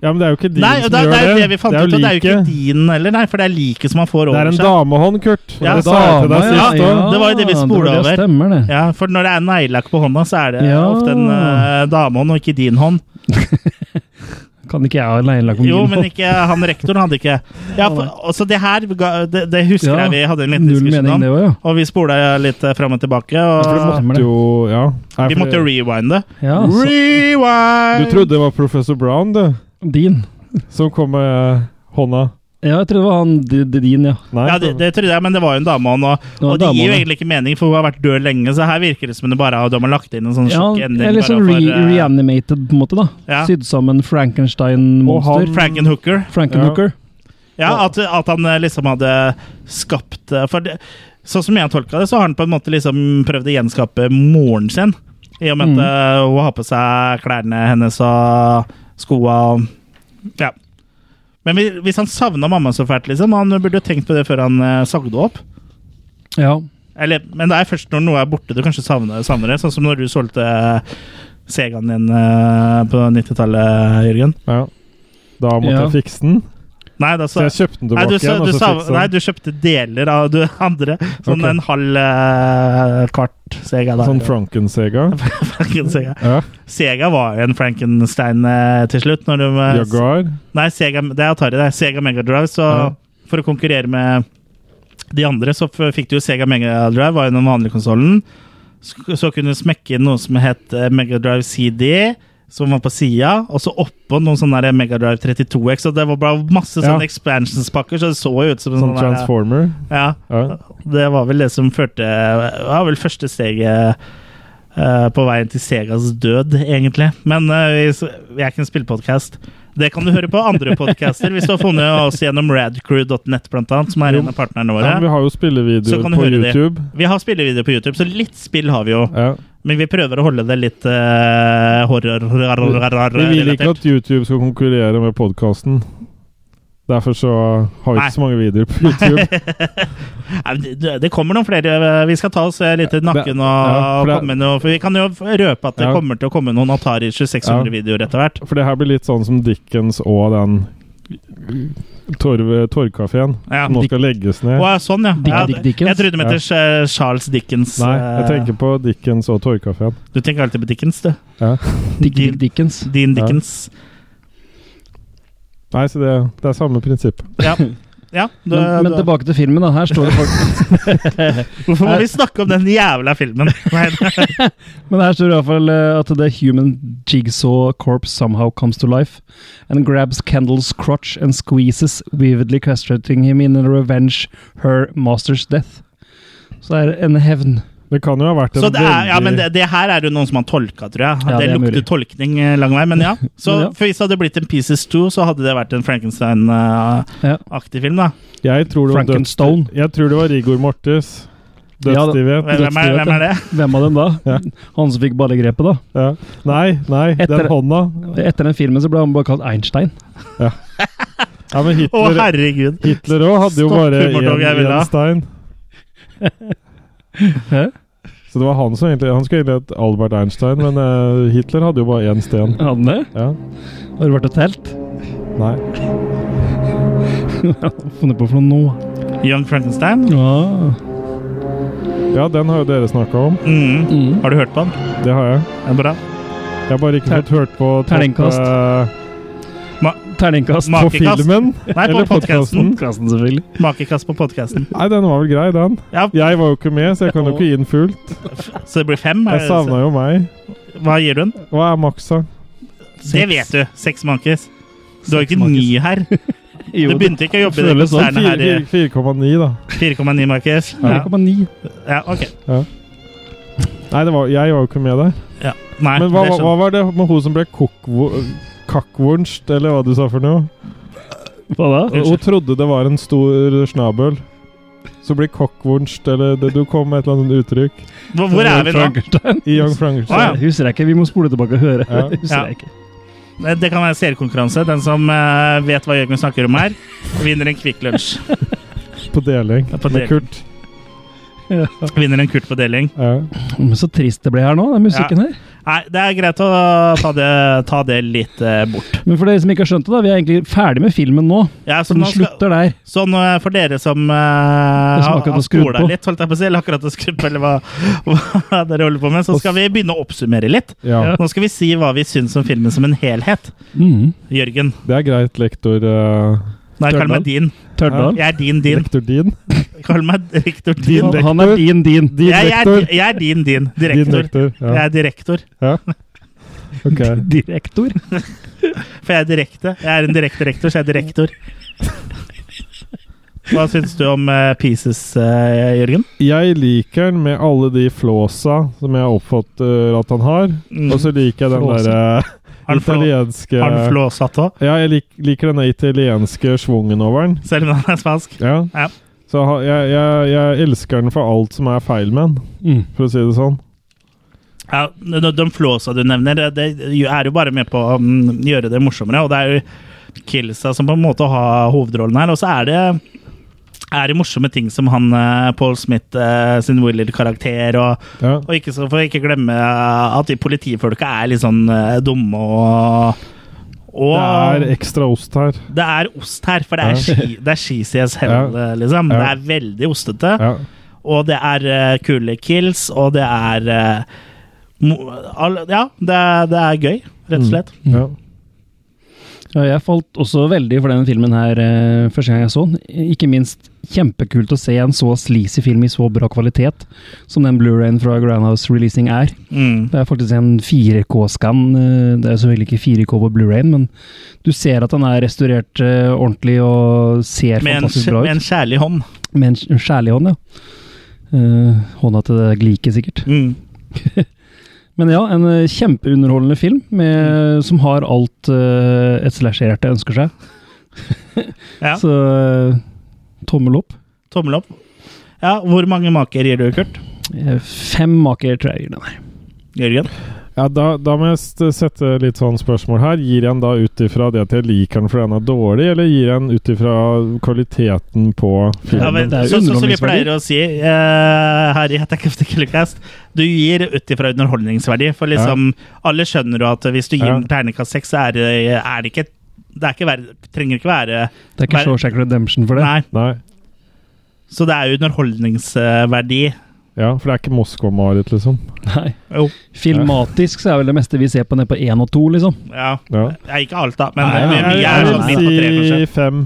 S2: ja, men det er jo ikke din
S1: Nei, og
S2: som
S1: det, det er
S2: gjør
S1: jo det vi fant ut, og det er jo ikke
S2: liket.
S1: din heller, nei, for det er liket som han får
S2: Det er
S1: over
S2: en
S1: seg.
S2: damehånd, Kurt.
S1: Ja,
S2: det sa jeg til deg
S1: ja,
S2: sist òg.
S1: Det var jo det vi spolet
S3: det var
S1: over.
S3: Det stemmer, det.
S1: Ja, for når det er neglelakk på hånda, så er det
S3: Ja.
S1: ofte en eh, damehånd, og ikke din hånd.
S3: Kan ikke jeg ha leielagt
S1: Jo, men ikke han rektoren hadde ikke Ja, for, også det her ga- det, det husker jeg vi hadde en liten
S3: Null
S1: diskusjon om.
S3: mening, sånn det òg, ja.
S1: Og vi spola litt eh, fram og tilbake,
S2: For det
S1: og
S2: måtte
S3: Stemmer det.
S2: jo Ja. Nei,
S1: vi
S2: for-
S1: måtte rewinde.
S3: ja altså, så,
S2: Du
S1: Rewind!
S2: trodde det var professor Brown, du,
S3: din.
S2: som kom med eh, hånda.
S3: Ja, jeg tror det var han d- d- din, ja.
S2: Nei.
S1: Ja, det, det trodde jeg, men det var jo en damehånd. Og,
S3: Det var
S1: og det
S3: damene.
S1: gir jo egentlig ikke mening, for hun har vært død lenge, så her virker det som om det bare har- de har lagt inn en sånn
S3: ja
S1: sjokk ending.
S3: eller sånn
S1: bare
S3: re
S1: for, eh,
S3: reanimated, på en måte. da
S1: Ja.
S3: Sydd
S2: Og
S3: sammen
S2: han-
S3: Frankenstein-monster.
S1: Frankenhooker.
S3: Frankenhooker.
S1: Ja, at, at han eh, liksom hadde skapt eh, For det, sånn som jeg tolka det, så har han på en måte liksom prøvd å gjenskape moren sin. I og med at eh, hun har på seg klærne hennes og skoa og Ja. Men vi- hvis han savna mamma så fælt, liksom Han burde jo tenkt på det før han eh, sagde opp.
S3: Ja.
S1: Eller, men det er først når noe er borte du kanskje savner, savner det. Sånn som når du solgte Segaen din eh, på 90-tallet, Jørgen.
S2: Ja. Da måtte
S3: Ja.
S2: jeg fikse den.
S1: Nei, da,
S2: Så
S1: sa-
S2: jeg kjøpte den
S1: Nei du,
S2: tilbake
S1: sa, du,
S2: igjen. og så
S1: sa,
S2: altså, fikk den-
S1: nei, du kjøpte deler av du andre. Sånn
S2: Ok.
S1: en halv eh, kvart Sega der.
S2: Sånn Franken-Sega.
S1: Franken-Sega.
S2: Ja.
S1: Sega var jo en Frankenstein eh, til slutt. Når du, eh,
S2: Jaguar. Sånn
S1: Nei, Sega, det er Atari. Det er Sega Mega Drive. Så
S2: Ja.
S1: for å konkurrere med de andre, så f- fikk du jo Sega Mega Drive, var jo den vanlige konsollen. Så, så kunne du smekke inn noe som het eh, Mega Drive CD, som var på sida, og så oppå noen sånne der Mega Drive 32X, og det var bare masse
S2: Ja.
S1: sånne expansionspakker, så det så jo ut som en
S2: Sånn
S1: sånn, der-
S2: Transformer.
S1: ja.
S2: Ja.
S1: Det var vel det som førte Det var vel første steget eh, på veien til Segas død, egentlig. Men eh, vi, s- vi er ikke en spillpodkast. Det kan du høre på andre podcaster hvis du har funnet oss gjennom radcrew.net, blant annet, som er en av partnerne
S2: Ja, men vi
S1: våre.
S2: har jo
S1: Så
S2: spillevideoer
S1: kan du
S2: på
S1: høre det.
S2: YouTube.
S1: Vi har spillevideo på YouTube, så litt spill har vi jo.
S2: Ja.
S1: Men vi prøver å holde det litt eh, horror...
S2: Vi vil ikke
S1: horror-relatert.
S2: at YouTube skal konkurrere med podkasten. Derfor så har vi
S1: Nei.
S2: ikke så mange videoer på YouTube.
S1: Nei, men Det det kommer noen flere. Vi skal ta oss eh, litt i nakken og,
S2: Ja, for
S1: og
S2: det-
S1: komme med noe. For vi kan jo røpe at det
S2: Ja.
S1: kommer til å komme noen Atari 2600-videoer etter hvert.
S2: For det her blir litt sånn som Dickens og den torv- torvkafeen
S1: Ja.
S2: som nå skal legges
S1: Å,
S2: ned.
S1: ja, sånn, ja.
S3: Dick-
S1: ja.
S3: Dick Dickens?
S1: Jeg trodde du mente eh, Charles Dickens.
S2: Nei,
S1: eh,
S2: jeg tenker på Dickens og torvkafeen.
S1: Du tenker alltid på Dickens, du.
S2: Ja.
S3: Dick Dick Dickens.
S1: Dean Dickens.
S2: Nei, så det, det er samme prinsipp.
S1: Ja. ja du,
S3: Men, men
S1: du,
S3: tilbake til filmen. da Her står det folk
S1: hvorfor må vi snakke om den jævla filmen? Nei,
S3: Men her står det iallfall eh, at the human jigsaw corpse somehow comes to life and grabs Kendall's crotch and squeezes, vividly castrating him in revenge her master's death. Så det er en hevn.
S2: Det kan jo ha vært en
S1: så det, er, ja, men
S2: veldig
S1: det, det her er jo noen som har tolka, tror jeg.
S3: Ja,
S1: det,
S3: det er
S1: lukter
S3: mulig.
S1: tolkning eh, lang vei, men ja. Så
S3: Men ja.
S1: for Hvis det hadde blitt en Pieces 2, så hadde det vært en Frankenstein-aktig
S3: Ja.
S1: film. da
S2: Jeg tror det var døds-
S3: Frankenstone.
S2: Jeg tror det var Rigor Mortis.
S3: Ja, da-
S2: Dødstivhet.
S1: Hvem hvem er, hvem er det?
S3: Hvem av dem da?
S2: Ja.
S3: Han som fikk ballegrepet, da?
S2: Ja. Nei, nei,
S3: Etter-
S2: den hånda.
S3: Etter den filmen så ble han bare kalt Einstein.
S2: Ja, men
S1: Å,
S2: Hitler
S1: herregud.
S2: Hitler òg hadde jo
S1: Stopp
S2: bare
S1: humortog jeg vil ha.
S2: én stein.
S3: Hæ?
S2: Så det var han som egentlig Han skulle egentlig hett Albert Einstein, men eh, Hitler hadde jo bare én sten.
S3: Hadde han det?
S2: Ja,
S3: Har det vært et telt?
S2: nei
S3: Funnet på for noe nå?
S1: Young Frankenstein?
S3: Ja.
S2: Ja, den har jo dere snakka om.
S1: Mm. Har du hørt på den?
S2: Det har jeg.
S1: Det er bra.
S2: Jeg har bare ikke fått hørt på topp,
S3: Terningkast.
S2: eh,
S3: Terningkast. Mm.
S1: Ma-
S2: på
S1: Makekast.
S2: filmen.
S1: Nei, på
S2: Eller
S1: podkasten.
S2: podcasten.
S3: Podkasten, selvfølgelig.
S1: Makekast på podkasten.
S2: Nei, den var vel grei, den.
S1: Ja.
S2: Jeg var jo ikke med, så jeg kan jo ikke gi den fullt.
S1: Så det blir fem? er
S2: Jeg
S1: det-
S2: savna jo meg.
S1: Hva gir du den?
S2: Hva er maksa?
S1: Det vet du. Seks mankis. Du er jo ikke
S3: Seks
S1: ny her. Du
S3: Jo, det
S1: begynte ikke å jobbe i det
S2: Føles sånn.
S1: konsernet her i
S2: 4,9, da.
S1: 4,9 markis. Ja.
S3: 4,9.
S1: ja, ok.
S2: Nei, det var, jeg var jo ikke med der.
S1: Ja. Nei,
S2: Men hva,
S1: det sånn. skjønner
S2: hva var det med hun som ble kokvo- kakkvornst, eller hva du sa for noe?
S3: Hva da?
S2: Hun trodde det var en stor snabel. Så blir kokkvornst, eller det, du kom med et eller annet uttrykk
S1: jeg. Hvor, hvor er vi nå?
S3: Frankenstein.
S2: i Young Frankenstein.
S1: Å, ja.
S3: Husker jeg ikke. Vi må spole tilbake og høre.
S2: Ja.
S3: Husker
S1: Ja.
S3: jeg ikke.
S1: Det- Eh, Det kan være seerkonkurranse. Den som eh, vet hva Jørgen snakker om her, vinner en Kvikk Lunsj.
S2: På deling
S1: Ja, på
S2: med
S1: deling.
S2: Kurt.
S1: Vinner en Kurt på deling.
S2: Ja.
S3: Mm, Men så trist det ble her nå, den musikken her.
S1: Nei, det er greit å ta det, ta det litt eh, bort.
S3: Men for dere som ikke har skjønt det, da, vi er egentlig ferdig med filmen nå.
S1: Ja, så
S3: For den
S1: nå skal-
S3: slutter der.
S1: Sånn eh, for dere som, uh,
S3: Som
S1: har
S3: akkurat har
S1: har
S3: skrudd
S1: skola
S3: på.
S1: litt, holdt jeg på å si, eller akkurat har skrudd på, eller hva, hva dere holder på med, så skal vi begynne å oppsummere litt.
S2: ja.
S1: Nå skal vi si hva vi syns om filmen som en helhet.
S3: Mm.
S1: Jørgen.
S2: Det er greit, lektor eh,
S1: Nei, kall
S3: Stjørdal.
S1: meg din.
S3: Tørdal.
S1: Jeg er din, din.
S2: Lektor din.
S1: Kall meg rektor
S2: Din
S1: din.
S2: lektor.
S3: Han er din, din.
S2: Din
S1: Jeg, jeg,
S2: lektor.
S1: er, jeg er din, din.
S2: Din
S1: Direktor.
S2: lektor.
S1: Jeg
S2: Ja.
S1: er direktor,
S2: ja. Ok.
S3: Direktor.
S1: for jeg er direkte. Jeg er en direkte rektor, så jeg er direktor. Hva syns du om eh, Pieces, eh, Jørgen?
S2: Jeg liker den med alle de flåsa som jeg oppfatter at han har.
S1: Mm.
S2: Og så liker jeg den
S3: Flåsa.
S2: derre
S1: Har han flå-
S2: italienske
S1: Har han flåsatt òg?
S2: Ja, jeg lik, liker denne italienske schwungen over den.
S1: Selv om han er spansk?
S2: Ja.
S1: Ja.
S2: Så ha- jeg, jeg, jeg elsker den for alt som er feil med den,
S3: Mm.
S2: for å si det sånn.
S1: Ja, de, de flåsa du nevner, det- det er jo bare med på å mm, gjøre det morsommere. Og det er jo Kilsa som på en måte har hovedrollen her. Og så er det, er det morsomme ting som han eh, Paul Smith eh, sin Willard-karakter og,
S2: Ja.
S1: og ikke så får jeg ikke glemme at de politifolka er litt sånn eh, dumme og Og
S2: Det er ekstra ost her.
S1: det er ost her, for det er,
S2: Ja.
S1: ski, det er cheesy as hell,
S2: Ja.
S1: liksom. Det
S2: Ja.
S1: er veldig ostete.
S2: Ja.
S1: Og det er eh, kule kills, og det er eh, mo- all, Ja, det, er- det er gøy, rett og
S3: Mm.
S1: slett.
S2: Ja.
S3: Ja, jeg falt også veldig for denne filmen her eh, første gang jeg så den. Ikke minst kjempekult å se en så sleazy film i så bra kvalitet som den Blu-rayen fra Grindhouse Releasing er.
S1: Mm.
S3: Det er faktisk en 4K-skann. Det er selvfølgelig ikke 4K på Blu-rayen, men du ser at den er restaurert eh, ordentlig og ser
S1: Med, en,
S3: fantastisk bra
S1: med en
S3: ut.
S1: kjærlig hånd.
S3: Med en sk- skjærlig hånd, ja. Eh, hånda til det gliket, sikkert.
S1: Mm.
S3: Men ja, en eh, kjempeunderholdende film
S1: Mm.
S3: med, som har alt eh, et slasherhjerte ønsker seg.
S1: Ja,
S3: Så eh, tommel opp.
S1: tommel opp. Ja, Hvor mange maker gir du, Kurt?
S3: Eh, Fem maker tror jeg gir den her.
S1: Jørgen?
S2: Ja, da, da må jeg st- sette litt sånn spørsmål her. Gir jeg den da ut ifra det at jeg liker den fordi den er dårlig, eller gir jeg den ut ifra kvaliteten på
S1: Ja,
S2: filmen?
S1: men,
S3: det er jo
S1: så, så, så vi
S3: underholdningsverdi.
S1: pleier å si eh, her i Attack of the Killer Cast Du gir ut ifra underholdningsverdi, for liksom alle skjønner jo at hvis du gir
S2: Ja.
S1: den terningkast seks, så er det, er det ikke det er ikke verd- trenger ikke være
S3: Det er ikke
S1: Nei.
S3: Shawshank Redemption for det.
S1: Nei.
S2: Nei.
S1: Så det er jo underholdningsverdi.
S2: Ja, for det er ikke Moskva-Marit, liksom.
S3: Nei.
S1: Jo.
S3: Filmatisk så er vel det meste vi ser på nede på én og to, liksom.
S1: Ja.
S2: Ja.
S1: Det er ikke alt, da, men
S3: Nei,
S1: Nei, mye er
S3: nei, nei,
S1: sånn
S3: nei.
S1: midt på tre,
S2: si
S1: kanskje.
S2: fem.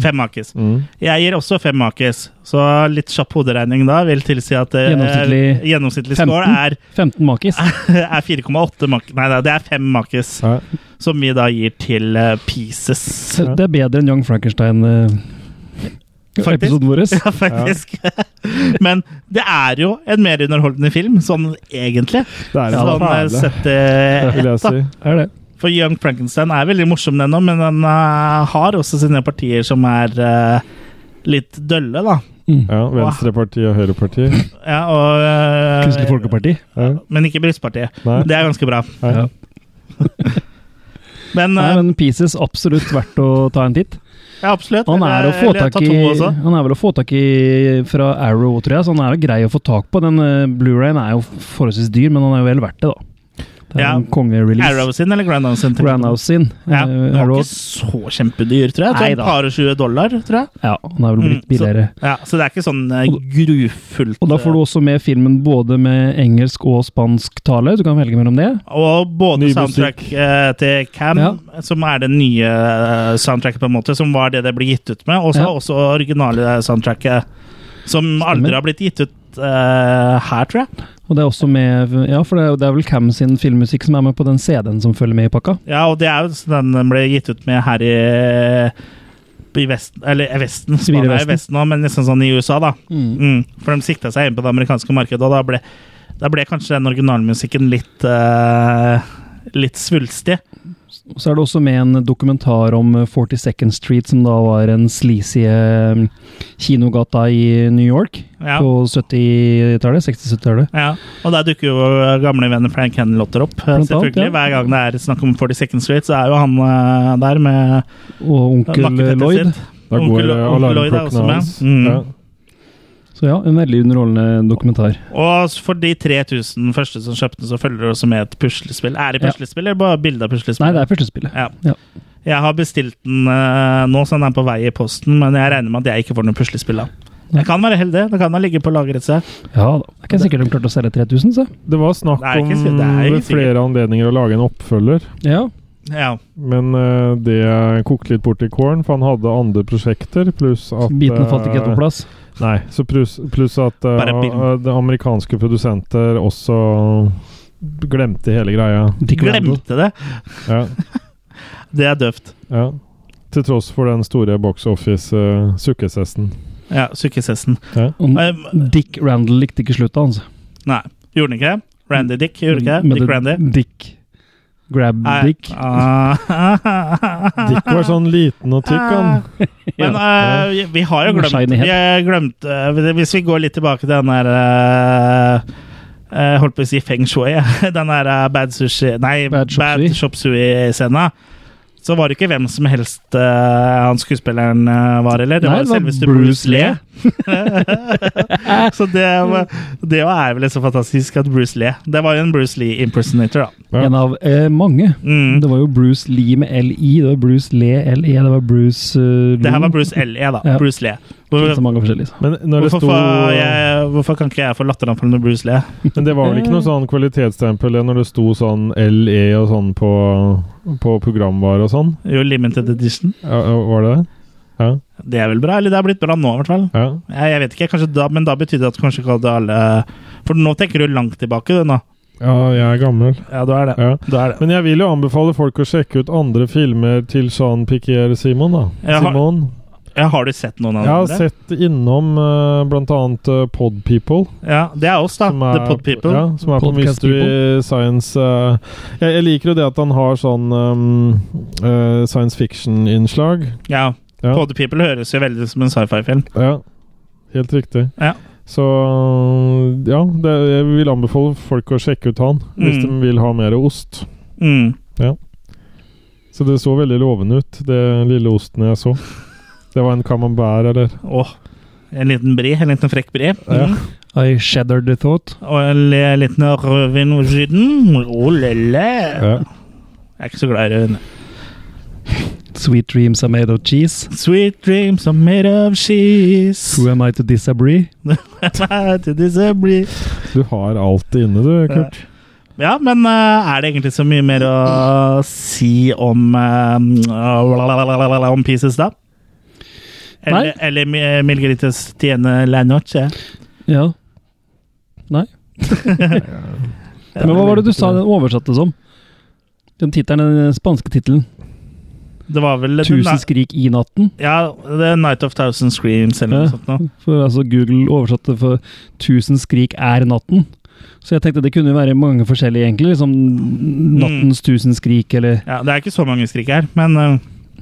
S1: Fem makis.
S2: Mm.
S1: Jeg gir også fem makis, så litt kjapp hoderegning da vil tilsi at eh,
S3: Gjennomsnittlig-
S1: gjennomsnittlig
S3: 15?
S1: score er,
S3: 15 makis.
S1: er 4,8 mak... Nei, nei, det er fem makis,
S2: Nei.
S1: som vi da gir til eh, Pieces.
S3: Så Det er bedre enn Young Frankenstein-episoden
S1: Faktisk.
S3: vår.
S1: Ja, faktisk. Men det er jo en mer underholdende film, sånn egentlig.
S2: Det er en
S1: Sånn eh,
S2: perle,
S1: sett eh, ett,
S2: vil jeg
S1: da.
S2: si.
S3: Er det.
S1: For Young Frankenstein er veldig morsom, den òg, men den eh, har også sine partier som er eh, litt dølle, da.
S2: Ja, Venstrepartiet og Høyrepartiet.
S1: Ja, og, eh,
S3: Kristelig Folkeparti.
S2: Ja.
S1: Men ikke Brystpartiet.
S2: Nei.
S1: Det er ganske bra.
S2: Nei.
S3: Ja.
S1: Men,
S3: Nei,
S1: eh,
S3: men Pieces absolutt verdt å ta en titt.
S1: ja, absolutt.
S3: Han er, å
S1: eh,
S3: få
S1: Eller
S3: tak
S1: ta
S3: i,
S1: to også.
S3: han er vel å få tak i fra Arrow, tror jeg, så han er jo grei å få tak på. Den eh, Blu-rayen er jo forholdsvis dyr, men han er jo vel verdt det, da. Det er
S1: Ja.
S3: en kongerelease.
S1: Arrow sin eller Grandhouse sin? tenker du på?
S3: Grandhouse sin.
S1: Ja,
S3: eh,
S1: den var
S3: Arrow.
S1: ikke så kjempedyr, tror jeg.
S3: Nei
S1: Sånn
S3: da.
S1: par og 20 dollar, tror jeg.
S3: Ja, han er vel
S1: Mm,
S3: blitt
S1: så-
S3: billigere.
S1: Ja, så det er ikke sånn eh,
S3: Og-
S1: grufullt. eh,
S3: Og da får du også med filmen både med engelsk og spansk tale. Du kan velge mellom det.
S1: eh, og både
S2: Ny musikk.
S1: soundtrack eh, til Cam,
S3: Ja.
S1: som er det nye eh, soundtracket, på en måte, som var det det ble gitt ut med, og så
S3: Ja.
S1: også originale soundtracket, som
S3: Stemmer.
S1: aldri har blitt gitt ut eh, her, tror jeg.
S3: Og det er også med Ja, for det er, det er vel Cam sin filmmusikk som er med på den CD-en som følger med i pakka.
S1: Ja, og det er jo sånn den ble gitt ut med her i i Vesten, eller eh, Vesten,
S3: Sivile
S1: Spania er
S3: Vesten.
S1: Vesten også, men nesten sånn i USA, da. Mm. For de sikta seg inn på det amerikanske markedet, og da ble, da ble kanskje den originalmusikken litt eh, Litt svulstig.
S3: Og så er det også med en dokumentar om eh, 42nd Street, som da var en sleazy eh, kinogata i New York
S1: Ja.
S3: på 70-tallet. 60-70-tallet.
S1: Ja, og der dukker jo gamle venner Frank Henlotter opp. eh,
S3: Blant annet,
S1: selvfølgelig.
S3: ja.
S1: Hver gang det er snakk om 42nd Street, så er jo han eh, der med
S3: Og onkel
S1: nakkefettet
S3: Lloyd.
S1: sitt.
S2: Da
S1: Onkel-
S2: går eh,
S1: onkel Lloyd er også
S2: alarmklokkene
S1: med.
S2: hans.
S1: Mm.
S2: Ja.
S3: Så ja, en veldig underholdende dokumentar.
S1: Og for de 3000 første som kjøpte den, så følger det også med et puslespill. Er det
S3: Ja.
S1: puslespill, eller bare bilde av puslespill?
S3: Nei, det er første spillet.
S1: Ja.
S3: Ja.
S1: Jeg har bestilt den eh, nå, så den er på vei i posten, men jeg regner med at jeg ikke får noe puslespill da. Jeg kan være heldig. Det kan ha ligget på lageret seg.
S3: Ja da. Det er ikke sikkert de klarte å selge 3000, så.
S2: Det var snakk
S1: Det er
S2: om
S1: ikke si- det er ikke
S2: ved flere anledninger å lage en oppfølger,
S3: Ja.
S1: Ja.
S2: men eh, det kokte litt bort i kålen, for han hadde andre prosjekter, pluss at
S3: Biten falt ikke helt
S2: eh,
S3: på plass.
S2: Nei, så pluss, pluss at eh,
S1: Bare film.
S2: eh, de amerikanske produsenter også glemte hele greia.
S3: Dick Randall.
S1: Glemte det.
S2: Ja,
S1: Det er døvt.
S2: ja. Til tross for den store box eh, office-sukkesessen.
S1: Ja, sukkesessen.
S3: Og Dick Randall likte ikke slutta, altså.
S1: Nei, gjorde den ikke det? Randy Dick, gjorde den ikke det?
S3: Men
S1: Dick
S3: Mm, det-
S1: Randy?
S3: Dick. Grab
S1: Nei.
S3: Dick.
S1: Ah.
S2: Dick var sånn liten og tykk, han.
S1: Men eh, vi- vi har jo
S3: Med
S1: glemt,
S3: shiny head.
S1: vi har glemt eh, Hvis vi går litt tilbake til den der eh, eh, Holdt på å si feng shui. Den der eh, bad sushi Nei,
S3: Bad
S1: bad
S3: chop
S1: shop sui-scena. så var det ikke hvem som helst eh, han skuespilleren eh, var, eller? Det
S3: Nei,
S1: var
S3: det var
S1: selveste
S3: Bruce
S1: Bruce Lee. så det, var- det jo er vel så fantastisk at Bruce Lee Det var jo en Bruce Lee impersonator, da.
S2: Ja.
S3: En av eh, mange.
S1: Mm.
S3: Det var jo Bruce Lee med LI, det var Bruce Le LE, det var Bruce uh,
S1: Det her var Bruce L.E., da.
S3: Ja.
S1: Bruce Lee.
S3: Så
S1: Hvor,
S3: mange forskjellige. så.
S2: Men når det
S1: hvorfor,
S2: sto
S1: får jeg, hvorfor kan ikke jeg få latternavn med Bruce Lee?
S2: Men det var vel ikke noe sånn kvalitetsstempel når det sto sånn LE og sånn på, på programvare og sånn?
S1: Jo, Limited Edition.
S2: Ja, ja, var det det? Ja.
S1: Det er vel bra? Eller det er blitt bra nå, i hvert fall.
S2: ja.
S1: Jeg, jeg vet ikke, kanskje da, men da betydde det at kanskje ikke hadde alle For nå tenker du langt tilbake, du nå.
S2: Ja, jeg er gammel.
S1: Ja, du er det.
S2: Ja.
S1: Du er det.
S2: Men jeg vil jo anbefale folk å sjekke ut andre filmer til Jean Piquier Simon, da.
S1: Jeg har-
S2: Simon.
S1: Ja, har du sett noen av
S2: Jeg har
S1: dem?
S2: sett innom eh, blant annet eh, Pod People.
S1: Ja, det er oss, da.
S2: Som er,
S1: Ah, The Pod People.
S2: Ja, som er på
S3: Podcast
S2: Mystery Science eh, jeg, jeg liker jo det at han har sånn eh, eh, science fiction-innslag.
S1: Ja.
S2: Ja.
S1: Pod People høres jo veldig ut som en sci-fi-film.
S2: Ja, helt riktig.
S1: Ja.
S2: Så ja, det, jeg vil anbefale folk å sjekke ut han hvis
S1: Mm.
S2: de vil ha mer ost.
S1: Mm.
S2: Så det så veldig lovende ut, det lille osten jeg så. Det var en camembert, eller?
S1: Åh. En liten bri, en liten frekk bri.
S2: Ja.
S1: Mm.
S3: I Shattered the Thought.
S1: Og en le- liten rødvin ved siden. Oh, lille.
S2: Ja.
S1: Jeg er ikke så glad i rødvin.
S3: Sweet Dreams Are Made of Cheese.
S1: Sweet dreams are made of cheese.
S3: Who am I to disagree?
S1: To disagree.
S2: Du har alt det inne, du, Kurt.
S1: Ja, men eh, er det egentlig så mye mer å si om eh, om Pieces, da? Eller,
S3: Nei.
S1: eller Mi- Milgrites tiende la noche?
S3: Ja. Nei. Men hva var det du sa den oversatte som? Den tittelen, den spanske tittelen.
S1: Det var vel The
S3: 'Tusen
S1: Ni-
S3: skrik i natten'.
S1: Ja, The Night of Thousand Screams eller noe
S3: Ja.
S1: sånt noe.
S3: For altså Google oversatte for 'Tusen skrik er natten'. Så jeg tenkte det kunne jo være mange forskjellige, egentlig. Liksom
S1: Mm.
S3: 'Nattens tusen skrik', eller
S1: Ja, det er ikke så mange skrik her, men eh,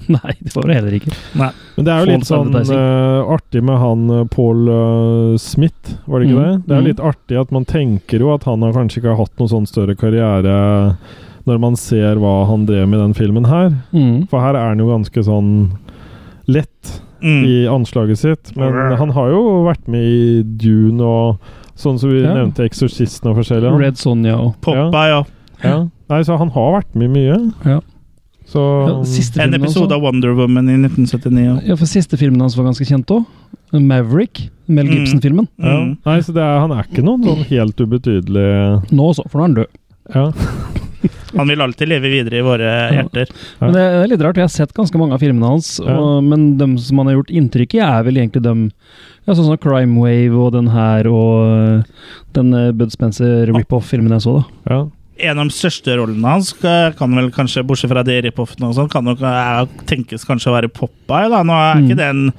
S3: Nei, det var det heller ikke.
S1: nei.
S2: Men det er jo litt
S3: False
S2: sånn
S3: advertising.
S2: eh, artig med han eh, Paul eh, Smith, var det ikke
S3: Mm.
S2: det? Det er jo
S3: Mm.
S2: litt artig at man tenker jo at han har kanskje ikke hatt noen sånn større karriere når man ser hva han drev med i den filmen her.
S3: Mm.
S2: For her er han jo ganske sånn lett
S1: Mm.
S2: i anslaget sitt. Men han har jo vært med i Dune og sånn som vi
S3: Ja.
S2: nevnte, Eksorsisten og forskjellig.
S3: Red Sonja og
S1: Poppa, ja.
S2: Ja. Nei, så han har vært med i mye.
S3: Ja.
S2: Så um,
S3: ja, siste
S1: Um, En
S3: filmen hans
S1: episode
S3: også.
S1: av Wonder Woman i 1979. ja.
S3: Ja, for siste filmen hans var ganske kjent òg. 'Maverick'. Mel
S1: Mm.
S3: Gibson-filmen.
S2: ja.
S1: Mm.
S2: Nei, så det er, han er ikke noen sånn helt ubetydelig
S3: Nå også, for nå er han død.
S2: Ja.
S1: Han vil alltid leve videre i våre hjerter.
S2: Ja.
S3: Men det er litt rart, jeg har sett ganske mange av filmene hans, og, men dem som han har gjort inntrykk i, er vel egentlig dem ja, Sånn som Crime Wave og den her, og øh, den øh, Bud Spencer
S1: Ah.
S3: rip-off-filmen jeg så, da.
S2: ja.
S1: en av de største rollene hans eh, kan vel kanskje, bortsett fra de rip-offene og sånn, kan nok eh, tenkes kanskje å være Popeye, da. Nå er
S3: Mm.
S1: ikke det en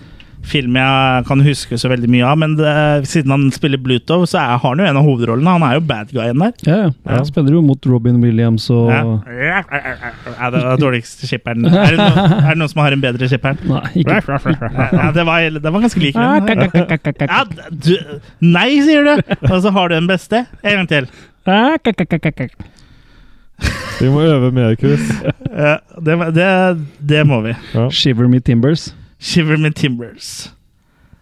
S1: film jeg kan huske så veldig mye av, men det, siden han spiller Bluto, så er, har han jo en av hovedrollene. Han er jo bad guyen der.
S3: Ja, ja. Han spiller jo mot Robin Williams og
S1: Ja. Ja, det var dårligste skipperen. Er det, noen, er det noen som har en bedre skipperen?
S3: Nei, ikke
S1: Ja, det, var, det var ganske lik
S3: Ah,
S1: den.
S3: kak, kak, kak, kak,
S1: Ja,
S3: kak.
S1: du, nei, sier du! Og så har du den beste. En gang til.
S3: Ah, kak, kak, kak, kak.
S2: Vi må øve mer, Chris.
S1: Ja, Eh, Det, det, det må vi.
S2: Ja.
S3: Shiver Me Timbers.
S1: Shiver me timbers.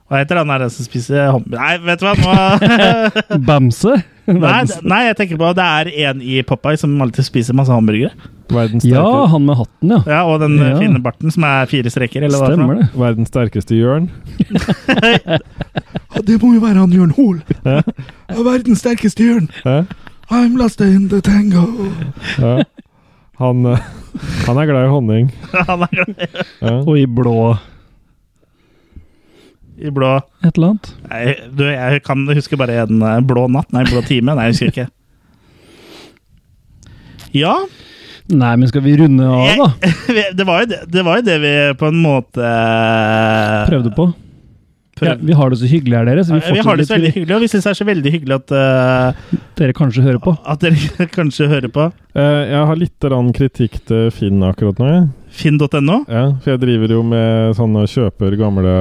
S1: Hva heter han der som spiser hamburger Nei, vet du hva? Nå...
S3: Bamse.
S1: nei,
S3: Verdens-
S1: d- nei, jeg tenker på det er en i Popeye som alltid spiser masse hamburgere.
S2: Verdens,
S3: Ja,
S2: sterke,
S3: han med hatten, ja.
S1: Ja, og den eh,
S3: Ja.
S1: fine barten som er fire streker. Eller
S3: Stemmer det.
S2: verdens sterkeste Jørn.
S1: det. Det må jo være han Jørn Hoel. Verdens sterkeste Jørn.
S2: Ja.
S1: I'm lost in the tango.
S2: Ja. Han, eh, han er glad i honning.
S1: han er jo
S2: Ja.
S3: Og i blå
S1: i blå
S3: et eller annet.
S1: Nei, du, jeg kan huske bare en eh, blå natt. Nei, blå time. Nei, jeg husker ikke. Ja,
S3: Nei, men skal vi runde av, da?
S1: det var, jo det, det var jo det vi på en måte
S3: Prøvde på. Ja, vi har det så hyggelig her, dere. Så vi,
S1: Vi, har det så veldig hyggelig, og vi syns det er så veldig hyggelig at, eh,
S3: Dere kanskje hører på.
S1: at dere kanskje hører på
S2: Eh, jeg har litt grann kritikk til Finn akkurat nå. jeg.
S1: finn.no.
S2: Ja, for jeg driver jo med sånn og kjøper gamle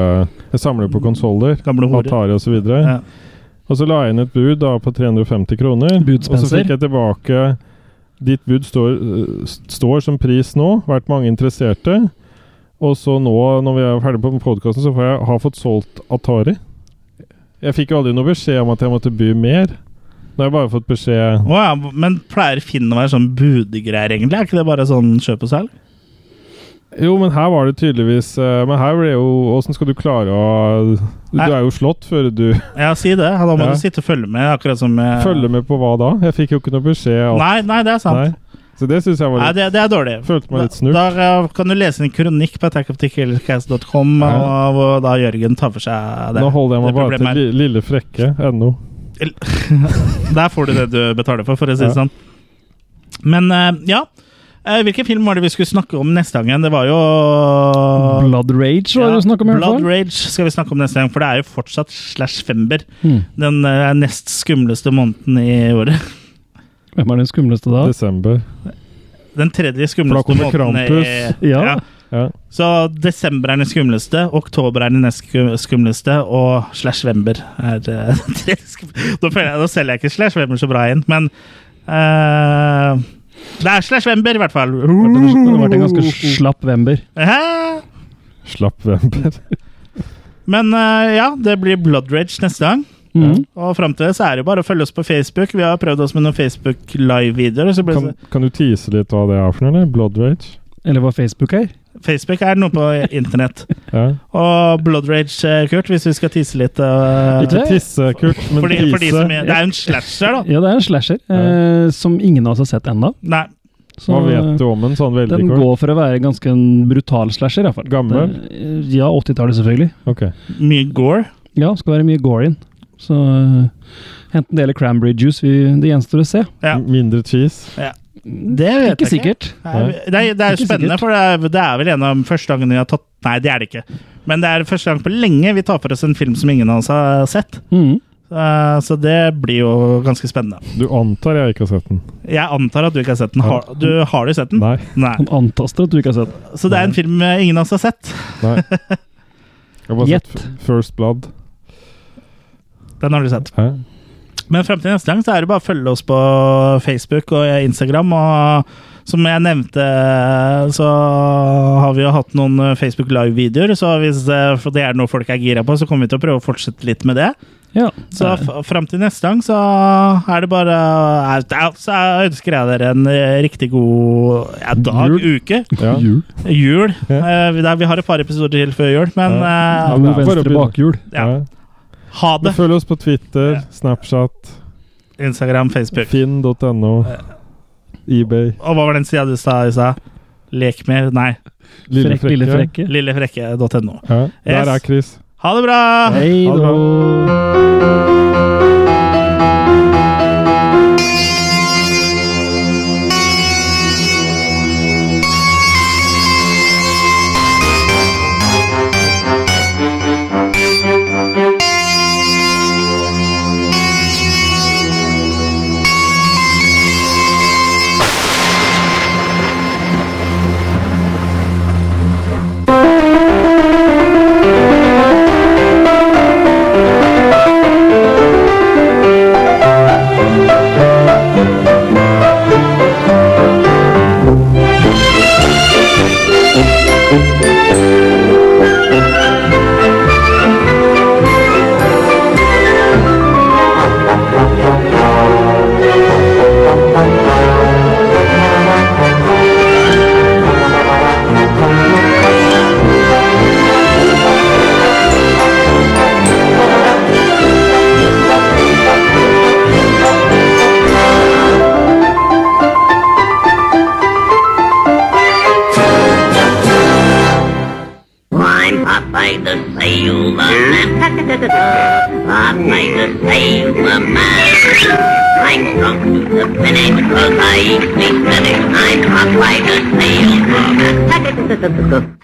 S2: Jeg samler på konsoller.
S1: Gamle horer.
S2: Atari osv. Og, så videre.
S1: Ja.
S2: og så la jeg inn et bud da på 350 kroner. Og så
S3: Budspenser.
S2: fikk jeg tilbake Ditt bud står, eh, st- står som pris nå, vært mange interesserte. Og så nå, når vi er ferdig på podkasten, så får jeg, har jeg fått solgt Atari. Jeg fikk jo aldri noe beskjed om at jeg måtte by mer. Nå har jeg bare fått beskjed
S1: Å ja, men pleier Finn å være sånn budegreier, egentlig? Er ikke det bare sånn kjøp og selg?
S2: Jo, men her var det tydeligvis eh, Men her ble jo Åssen skal du klare å Du er jo slått før du
S1: Ja, si det. Da må
S2: Ja.
S1: du sitte og følge med, akkurat som med
S2: følger med på hva da? Jeg fikk jo ikke noe beskjed. om-
S1: Nei, nei, det er sant.
S2: Nei. Så det syns jeg var
S1: Nei,
S2: litt
S1: det, det er dårlig.
S2: Følte meg litt snurt.
S1: Da, da eh, kan du lese en kronikk på attackofthekillercast.com,
S2: Ja.
S1: hvor da Jørgen tar for seg det.
S2: Nå holder jeg meg
S1: det
S2: bare til
S1: problemet
S2: li, lille frekke NO.
S1: her. Der får du det du betaler for, for å si det
S2: Ja.
S1: sånn. Men eh, ja. Eh, Hvilken film var det vi skulle snakke om neste gang? Det var jo
S3: Blood Rage var det du snakket om, i hvert
S1: Ah. Blood
S3: fall.
S1: Rage skal vi snakke om neste gang, for det er jo fortsatt slash fember.
S3: Hmm.
S1: Den eh, nest skumleste måneden i året.
S3: Hvem er den skumleste da?
S2: Desember.
S1: Den tredje
S2: For da
S1: skumleste
S2: kommer
S1: måneden
S2: Krampus.
S1: i
S3: Ja.
S2: Ja.
S1: Så desember er den skumleste, oktober er den nest skum- skumleste, og slash vember er eh, den tredje skum- Nå føler jeg, nå selger jeg ikke slash vember så bra igjen, men eh, Det er slash vember, i hvert fall.
S3: Det har vært en ganske slapp vember.
S1: Hæ?
S2: Slapp vember.
S1: Men eh, ja, det blir Blood Rage neste gang.
S3: Mhm.
S1: Og fram til det så er det jo bare å følge oss på Facebook. Vi har prøvd oss med noen Facebook live-videoer. og så blir det
S2: Kan, kan du tease litt hva det er for noe? eller? Blood rage?
S3: Eller var Facebook her?
S1: så- Facebook er noe på internett.
S2: Ja.
S1: Og Blood Rage, eh, Kurt, hvis vi skal tisse litt eh,
S2: Ikke tisse, Kurt, men
S1: for de, for de
S2: tise.
S1: som er, Det er jo en slasher, da.
S3: Ja, det er en slasher eh, som ingen av oss har sett ennå.
S1: Nei.
S2: Hva vet du om en sånn veldig
S3: Den
S2: kort?
S3: går for å være ganske en brutal slasher. i hvert fall.
S2: Gammel?
S3: Den- eh, Ja, 80-tallet selvfølgelig.
S2: Ok.
S1: Mye gore.
S3: Ja, skal være mye gore in. Så eh, enten det eller cranberry juice, vi, det gjenstår å se.
S1: Ja.
S2: M- Mindre cheese.
S1: Det vet
S3: ikke
S1: jeg ikke.
S3: sikkert.
S1: Nei, Det er, det er
S3: Ikke
S1: spennende,
S3: sikkert.
S1: for det er, det er vel en av første gangene vi har tatt Nei, det er det ikke. Men det er første gang på lenge vi tar for oss en film som ingen av oss har sett.
S3: Mhm.
S1: Eh, så det blir jo ganske spennende.
S2: Du antar jeg ikke har sett den?
S1: Jeg antar at du ikke har sett den. Har du, har du sett den?
S2: Nei.
S1: Nei.
S3: Han antaster at du ikke har sett den.
S1: Så det er en film eh, ingen av oss har sett.
S2: Nei. Jeg har bare sett
S3: Gjett.
S2: F- First Blood.
S1: Den har du sett.
S2: Hæ?
S1: Men frem til neste gang så er det bare å følge oss på Facebook og Instagram. Og som jeg nevnte, så har vi jo hatt noen eh, Facebook Live-videoer. Så hvis eh, for det er noe folk er gira på, så kommer vi til å prøve å fortsette litt med det.
S3: Ja.
S1: Så
S3: Eh,
S1: f- frem til neste gang så er det bare er- er- Så ønsker jeg dere en eh, riktig god ja, dag, uke,
S2: Ja.
S3: Jul.
S1: jul. Eh, vi- Vi har et par episoder til før jul, men
S2: Ja.
S1: eh,
S3: God
S2: det er bare å
S3: venstre
S2: begynne.
S3: bakhjul.
S1: Ja.
S2: Ja.
S1: ha det.
S2: Følg oss på Twitter, Snapchat,
S1: Instagram, Facebook.
S2: finn.no, eBay.
S1: Og hva var den sida du sa i stad? Lek mer? Nei.
S2: Lille
S3: Frekk, lille
S2: frekke.
S3: frekke.
S1: Lillefrekke.no.
S2: Ja. Der
S1: Yes.
S2: er Chris.
S1: Ha det bra!
S3: Hei
S2: Ha det bra.
S3: da.
S8: I'm Popeye the Sailor Man. Popeye the Sailor Man. I'm drunk to the finish 'cause I eat me spinach. I'm Popeye the Sailor Man.